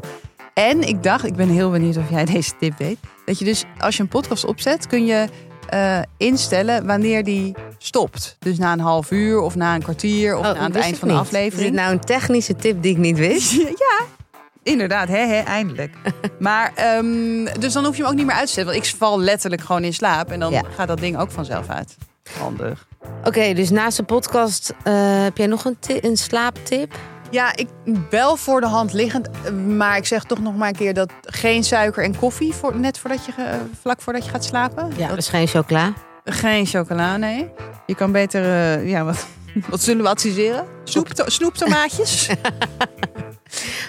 Speaker 1: En ik dacht, ik ben heel benieuwd of jij deze tip weet. Dat je dus als je een podcast opzet, kun je eh, instellen wanneer die stopt. Dus na een half uur of na een kwartier of
Speaker 3: Oh,
Speaker 1: na het
Speaker 3: wist
Speaker 1: eind
Speaker 3: ik
Speaker 1: van de
Speaker 3: niet. Is dit
Speaker 1: aflevering.
Speaker 3: nou een technische tip die ik niet wist?
Speaker 1: ja, inderdaad. Hè, hè, eindelijk. maar, ehm, dus dan hoef je hem ook niet meer uit te zetten. Want ik val letterlijk gewoon in slaap. En dan
Speaker 3: Ja.
Speaker 1: gaat dat ding ook vanzelf uit. Handig.
Speaker 3: Oké, dus naast de podcast eh, heb jij nog een, ti- een slaaptip?
Speaker 1: Ja, ik wel voor de hand liggend. Maar ik zeg toch nog maar een keer dat geen suiker en koffie. Voor, net voordat je, ge- vlak voordat je gaat slapen.
Speaker 3: Ja.
Speaker 1: Dat-
Speaker 3: Dat is geen chocola.
Speaker 1: geen chocola, nee. Je kan beter, eh, ja, wat, wat zullen we adviseren? Soep, snoeptomaatjes.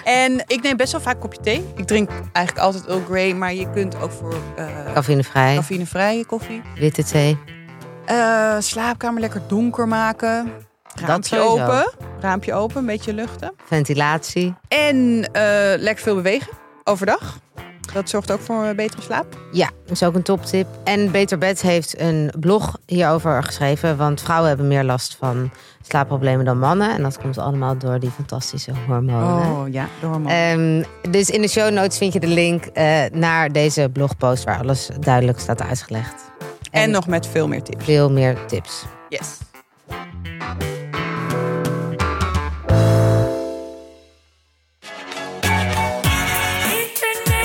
Speaker 1: en ik neem best wel vaak een kopje thee. Ik drink eigenlijk altijd Earl Grey, maar je kunt ook voor eh
Speaker 3: Cafeïnevrij,
Speaker 1: cafeïnevrije koffie.
Speaker 3: witte thee.
Speaker 1: Eh, slaapkamer lekker donker maken. Raampje
Speaker 3: sowieso.
Speaker 1: open. Raampje open, een beetje luchten.
Speaker 3: Ventilatie.
Speaker 1: En eh, lekker veel bewegen overdag. Dat zorgt ook voor een betere slaap.
Speaker 3: Ja, dat is ook een toptip. En Beter Bed heeft een blog hierover geschreven. Want vrouwen hebben meer last van slaapproblemen dan mannen. En dat komt allemaal door die fantastische
Speaker 1: Oh,
Speaker 3: hormonen.
Speaker 1: ja, de hormonen.
Speaker 3: Ehm, dus in de show notes vind je de link eh, naar deze blogpost... waar alles duidelijk staat uitgelegd.
Speaker 1: en nog met veel meer tips.
Speaker 3: veel meer tips.
Speaker 1: Yes.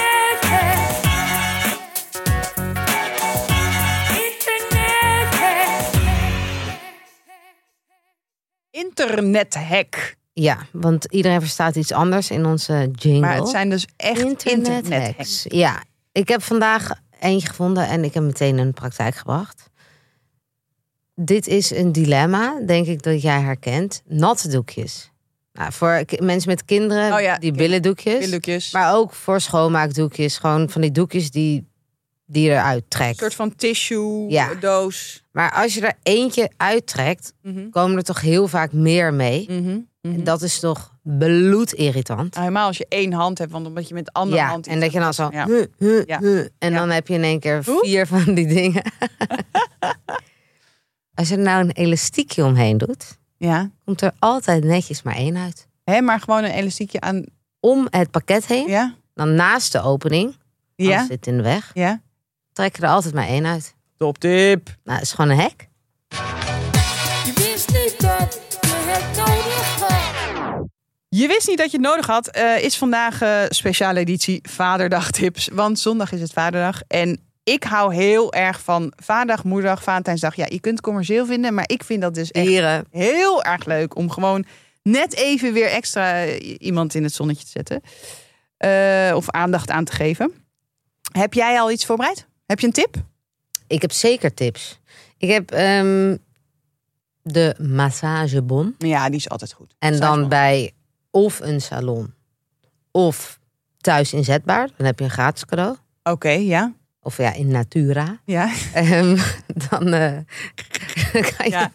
Speaker 2: Internet. Internet.
Speaker 1: Internethack.
Speaker 3: Ja, want iedereen verstaat iets anders in onze jingle.
Speaker 1: Maar het zijn dus echt internet,
Speaker 3: hacks. Ja, ik heb vandaag eentje gevonden en ik heb meteen in de praktijk gebracht. Dit is een dilemma, denk ik dat jij herkent. Natte doekjes. Nou, voor k- mensen met kinderen,
Speaker 1: Oh ja,
Speaker 3: die
Speaker 1: kind-
Speaker 3: billendoekjes.
Speaker 1: Billetjes.
Speaker 3: Maar ook voor schoonmaakdoekjes. Gewoon van die doekjes die, die je eruit
Speaker 1: een soort
Speaker 3: trekt.
Speaker 1: van tissue, eh,
Speaker 3: Ja.
Speaker 1: doos.
Speaker 3: Maar als je er eentje uittrekt,
Speaker 1: Mhm.
Speaker 3: komen er toch heel vaak meer mee. En dat is toch bloedirritant.
Speaker 1: Nou, Helemaal als je één hand hebt, want omdat je met de andere
Speaker 3: Ja,
Speaker 1: hand...
Speaker 3: en dat je dan zo...
Speaker 1: Ja.
Speaker 3: huh, huh,
Speaker 1: Ja.
Speaker 3: huh, en
Speaker 1: Ja.
Speaker 3: dan heb je in één keer
Speaker 1: Oeh.
Speaker 3: vier van die dingen. Als je er nou een elastiekje omheen doet...
Speaker 1: Ja.
Speaker 3: komt er altijd netjes maar één uit.
Speaker 1: Hè, maar gewoon een elastiekje aan...
Speaker 3: Om het pakket heen,
Speaker 1: Ja?
Speaker 3: dan naast de opening... Ja.
Speaker 1: Ja?
Speaker 3: zit het in de weg,
Speaker 1: Ja?
Speaker 3: trek je er altijd maar één uit.
Speaker 1: Top tip.
Speaker 3: Nou, het is gewoon een hek.
Speaker 2: Je wist niet dat je het nodig had.
Speaker 1: Je wist niet dat je het nodig had. eh, is vandaag eh, speciale editie Vaderdag tips. Want zondag is het Vaderdag. En ik hou heel erg van Vaderdag, Moederdag, Valentijnsdag. Ja, je kunt het commercieel vinden, maar ik vind dat dus echt...
Speaker 3: Dieren.
Speaker 1: heel erg leuk om gewoon net even weer extra eh, iemand in het zonnetje te zetten. Eh, of aandacht aan te geven. Heb jij al iets voorbereid? Heb je een tip?
Speaker 3: Ik heb zeker tips. Ik heb ehm, de massagebon.
Speaker 1: Ja, die is altijd goed.
Speaker 3: En
Speaker 1: Salon.
Speaker 3: dan bij of een salon of thuis inzetbaar. Dan heb je een gratis cadeau.
Speaker 1: Oké, ja.
Speaker 3: of ja, in natura,
Speaker 1: Ja.
Speaker 3: Ehm, dan, eh, kan je,
Speaker 1: Ja.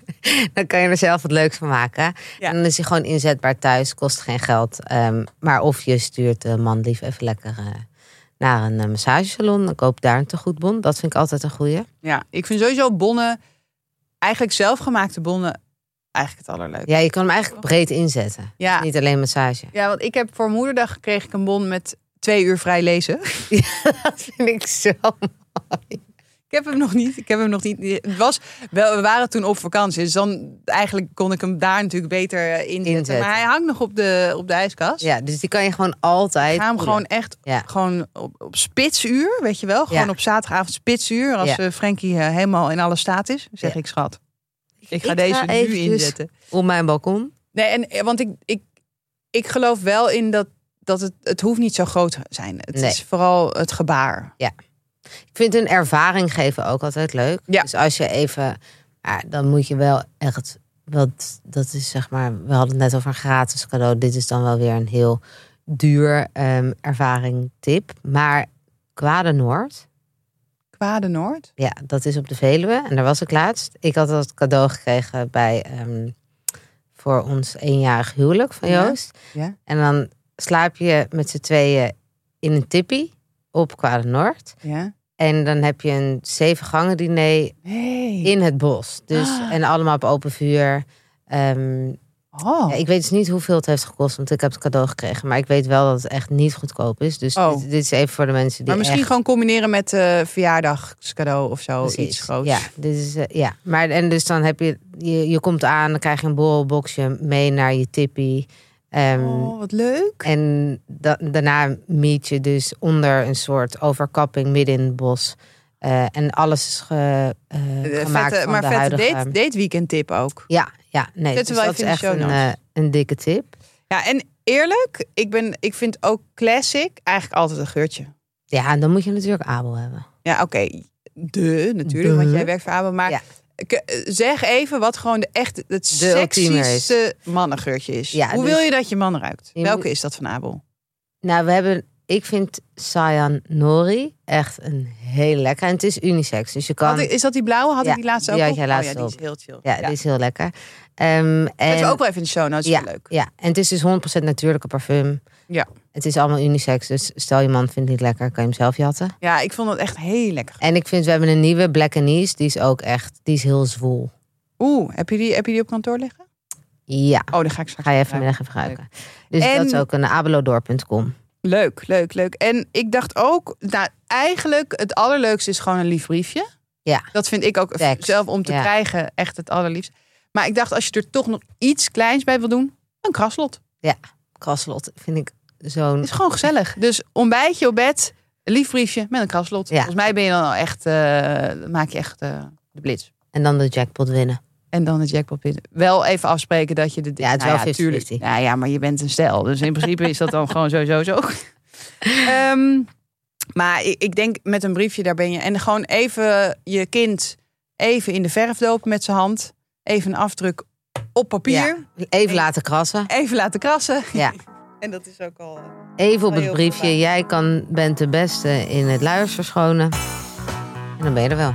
Speaker 3: dan kan je er zelf wat leuks van maken.
Speaker 1: Ja.
Speaker 3: En dan is hij gewoon inzetbaar thuis, kost geen geld. Ehm, maar of je stuurt de man lief even lekker eh, naar een eh, massagesalon, dan koop daar een tegoedbon. Dat vind ik altijd een goeie.
Speaker 1: ja. Ik vind sowieso bonnen, eigenlijk zelfgemaakte bonnen, eigenlijk het allerleukste.
Speaker 3: Ja, je kan hem eigenlijk breed inzetten.
Speaker 1: Ja.
Speaker 3: Niet alleen massage.
Speaker 1: Ja, want ik heb voor moederdag kreeg ik een bon met twee uur vrij lezen.
Speaker 3: Dat vind ik zo mooi.
Speaker 1: Ik heb hem nog niet. Ik heb hem nog niet. Het was wel, we waren toen op vakantie. Dus dan eigenlijk kon ik hem daar natuurlijk beter eh, inzetten.
Speaker 3: Inzetten.
Speaker 1: Maar hij hangt nog op de, op de ijskast.
Speaker 3: Ja, dus die kan je gewoon altijd.
Speaker 1: Ik ga hem
Speaker 3: voelen.
Speaker 1: gewoon echt
Speaker 3: Ja.
Speaker 1: gewoon op, op spitsuur, weet je wel? Gewoon
Speaker 3: Ja.
Speaker 1: op zaterdagavond spitsuur. Als
Speaker 3: Ja.
Speaker 1: eh, Frankie eh, helemaal in alle staat is, zeg
Speaker 3: Ja.
Speaker 1: ik schat. Ik ga
Speaker 3: Ik
Speaker 1: deze
Speaker 3: ga
Speaker 1: nu
Speaker 3: eventjes-
Speaker 1: inzetten.
Speaker 3: Op mijn balkon.
Speaker 1: Nee, en, eh, want ik, ik, ik geloof wel in dat, dat het, het hoeft niet zo groot te zijn. Het
Speaker 3: Nee.
Speaker 1: is vooral het gebaar.
Speaker 3: Ja. Ik vind een ervaring geven ook altijd leuk.
Speaker 1: Ja.
Speaker 3: Dus als je even, ja, dan moet je wel echt, want dat is zeg maar, we hadden het net over een gratis cadeau. Dit is dan wel weer een heel duur ehm, ervaring tip. Maar Kwade Noord,
Speaker 1: Kwade Noord.
Speaker 3: ja, dat is op de Veluwe. En daar was ik laatst. Ik had dat cadeau gekregen bij, ehm, voor ons eenjarig huwelijk van
Speaker 1: Ja.
Speaker 3: Joost.
Speaker 1: Ja.
Speaker 3: En dan slaap je met z'n tweeën in een tippie op Kwade Noord.
Speaker 1: Ja.
Speaker 3: En dan heb je een zeven gangen diner
Speaker 1: Nee.
Speaker 3: in het bos. Dus,
Speaker 1: Ah.
Speaker 3: En allemaal op open vuur. Ehm,
Speaker 1: Oh.
Speaker 3: ja, ik weet dus niet hoeveel het heeft gekost, want ik heb het cadeau gekregen. Maar ik weet wel dat het echt niet goedkoop is. Dus
Speaker 1: Oh.
Speaker 3: dit, dit is even voor de mensen die
Speaker 1: maar misschien
Speaker 3: echt-
Speaker 1: gewoon combineren met eh, verjaardagscadeau of zo.
Speaker 3: Precies.
Speaker 1: Iets groots.
Speaker 3: Ja, dit is, eh, ja. Maar, en dus dan heb je, je... Je komt aan, dan krijg je een borrelboxje mee naar je tippie. Ehm,
Speaker 1: Oh, wat leuk.
Speaker 3: En da- daarna meet je dus onder een soort overkapping midden in het bos. Eh, en alles is ge, eh,
Speaker 1: Eh,
Speaker 3: gemaakt
Speaker 1: vette,
Speaker 3: van
Speaker 1: maar
Speaker 3: de
Speaker 1: vette
Speaker 3: huidige...
Speaker 1: date, date weekend tip ook.
Speaker 3: Ja, ja. Nee,
Speaker 1: Zetten
Speaker 3: dus
Speaker 1: we
Speaker 3: dat
Speaker 1: even
Speaker 3: is
Speaker 1: in de
Speaker 3: echt
Speaker 1: show
Speaker 3: een,
Speaker 1: notes.
Speaker 3: eh, een dikke tip.
Speaker 1: Ja, en eerlijk, ik, ben, ik vind ook classic eigenlijk altijd een geurtje.
Speaker 3: Ja, en dan moet je natuurlijk Abel hebben.
Speaker 1: Ja, oké. De, natuurlijk,
Speaker 3: De.
Speaker 1: want jij werkt voor Abel. Maar
Speaker 3: Ja.
Speaker 1: ik, eh, zeg even wat gewoon de echt het
Speaker 3: De ultieme is.
Speaker 1: sexieste mannengeurtje is.
Speaker 3: Ja,
Speaker 1: Hoe
Speaker 3: dus-
Speaker 1: wil je dat je man ruikt?
Speaker 3: Je
Speaker 1: Welke is dat van Abel?
Speaker 3: Nou, we hebben... Ik vind Sayan Nori echt een heel lekker. En het is unisex, dus je kan...
Speaker 1: Had ik- is dat die blauwe? Had
Speaker 3: Ja,
Speaker 1: ik die laatste ook
Speaker 3: die had
Speaker 1: op?
Speaker 3: jij laatst
Speaker 1: oh, ja, die
Speaker 3: op.
Speaker 1: is heel chill.
Speaker 3: Ja, dit is heel lekker. Ehm
Speaker 1: Dat is
Speaker 3: en,
Speaker 1: ook wel even in de show notes. Ja. Leuk.
Speaker 3: ja, en het is dus 100% natuurlijke parfum.
Speaker 1: Ja.
Speaker 3: Het is allemaal unisex, dus stel je man vindt het niet lekker, kan je hem zelf jatten.
Speaker 1: Ja, ik vond dat echt heel lekker.
Speaker 3: En ik vind, we hebben een nieuwe Black Anise. Die is ook echt, die is heel zwoel.
Speaker 1: Oeh, heb je die, heb je die op kantoor liggen?
Speaker 3: Ja,
Speaker 1: Oh, dan ga ik straks
Speaker 3: ga je even
Speaker 1: gebruiken.
Speaker 3: vanmiddag even gebruiken. Dus
Speaker 1: En-
Speaker 3: dat is ook een abelodor.com.
Speaker 1: Leuk, leuk, leuk. En ik dacht ook, nou eigenlijk het allerleukste is gewoon een lief briefje.
Speaker 3: Ja.
Speaker 1: Dat vind ik ook
Speaker 3: Tekst,
Speaker 1: zelf om te
Speaker 3: ja.
Speaker 1: krijgen echt het allerliefste. Maar ik dacht, als je er toch nog iets kleins bij wil doen, een kraslot.
Speaker 3: Kraslot vind ik
Speaker 1: Het
Speaker 3: zo'n...
Speaker 1: is gewoon gezellig. Dus ontbijtje op bed, een lief briefje met een kraslot.
Speaker 3: Ja.
Speaker 1: Volgens mij ben je dan al echt, eh, dan maak je echt eh, de blitz.
Speaker 3: En dan de jackpot winnen.
Speaker 1: En dan de jackpot winnen. Wel even afspreken dat je de...
Speaker 3: Ja, het is wel
Speaker 1: ja,
Speaker 3: 50-50.
Speaker 1: tuurlijk. Nou ja, maar je bent een stijl. Dus in principe is dat dan gewoon sowieso zo. Ehm, maar ik, ik denk met een briefje, daar ben je. En gewoon even je kind even in de verf dopen met zijn hand. Even een afdruk op papier.
Speaker 3: Ja. Even laten krassen.
Speaker 1: Even laten krassen.
Speaker 3: Ja.
Speaker 1: En dat is ook al... eh,
Speaker 3: Even op
Speaker 1: Heel
Speaker 3: het
Speaker 1: veel
Speaker 3: briefje.
Speaker 1: waar.
Speaker 3: Jij kan, bent de beste in het luiers verschonen. En dan ben je er wel.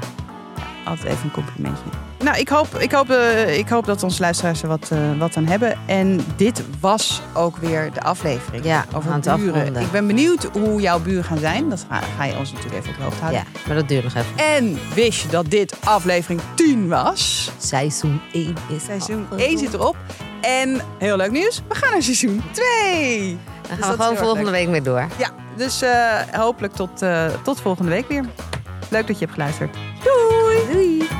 Speaker 1: altijd even een complimentje. Nou, ik hoop, ik hoop, eh, ik hoop dat onze luisteraars er wat, eh, wat aan hebben. En dit was ook weer de aflevering
Speaker 3: Ja,
Speaker 1: over
Speaker 3: aan het
Speaker 1: buren.
Speaker 3: afronden.
Speaker 1: Ik ben benieuwd hoe jouw buren gaan zijn. Dat ga, ga je ons natuurlijk even op de hoogte houden.
Speaker 3: Ja, maar dat duurt nog even.
Speaker 1: En wist je dat dit aflevering 10 was?
Speaker 3: Seizoen 1 is
Speaker 1: Seizoen
Speaker 3: afgerond.
Speaker 1: 1 zit erop. En heel leuk nieuws, we gaan naar seizoen 2.
Speaker 3: Dan
Speaker 1: Dus
Speaker 3: gaan
Speaker 1: dat
Speaker 3: we
Speaker 1: is heel
Speaker 3: gewoon
Speaker 1: erg
Speaker 3: volgende
Speaker 1: leuk.
Speaker 3: week weer door.
Speaker 1: Ja, dus eh, hopelijk tot, eh, tot volgende week weer. Leuk dat je hebt geluisterd. Doei!
Speaker 3: Doei!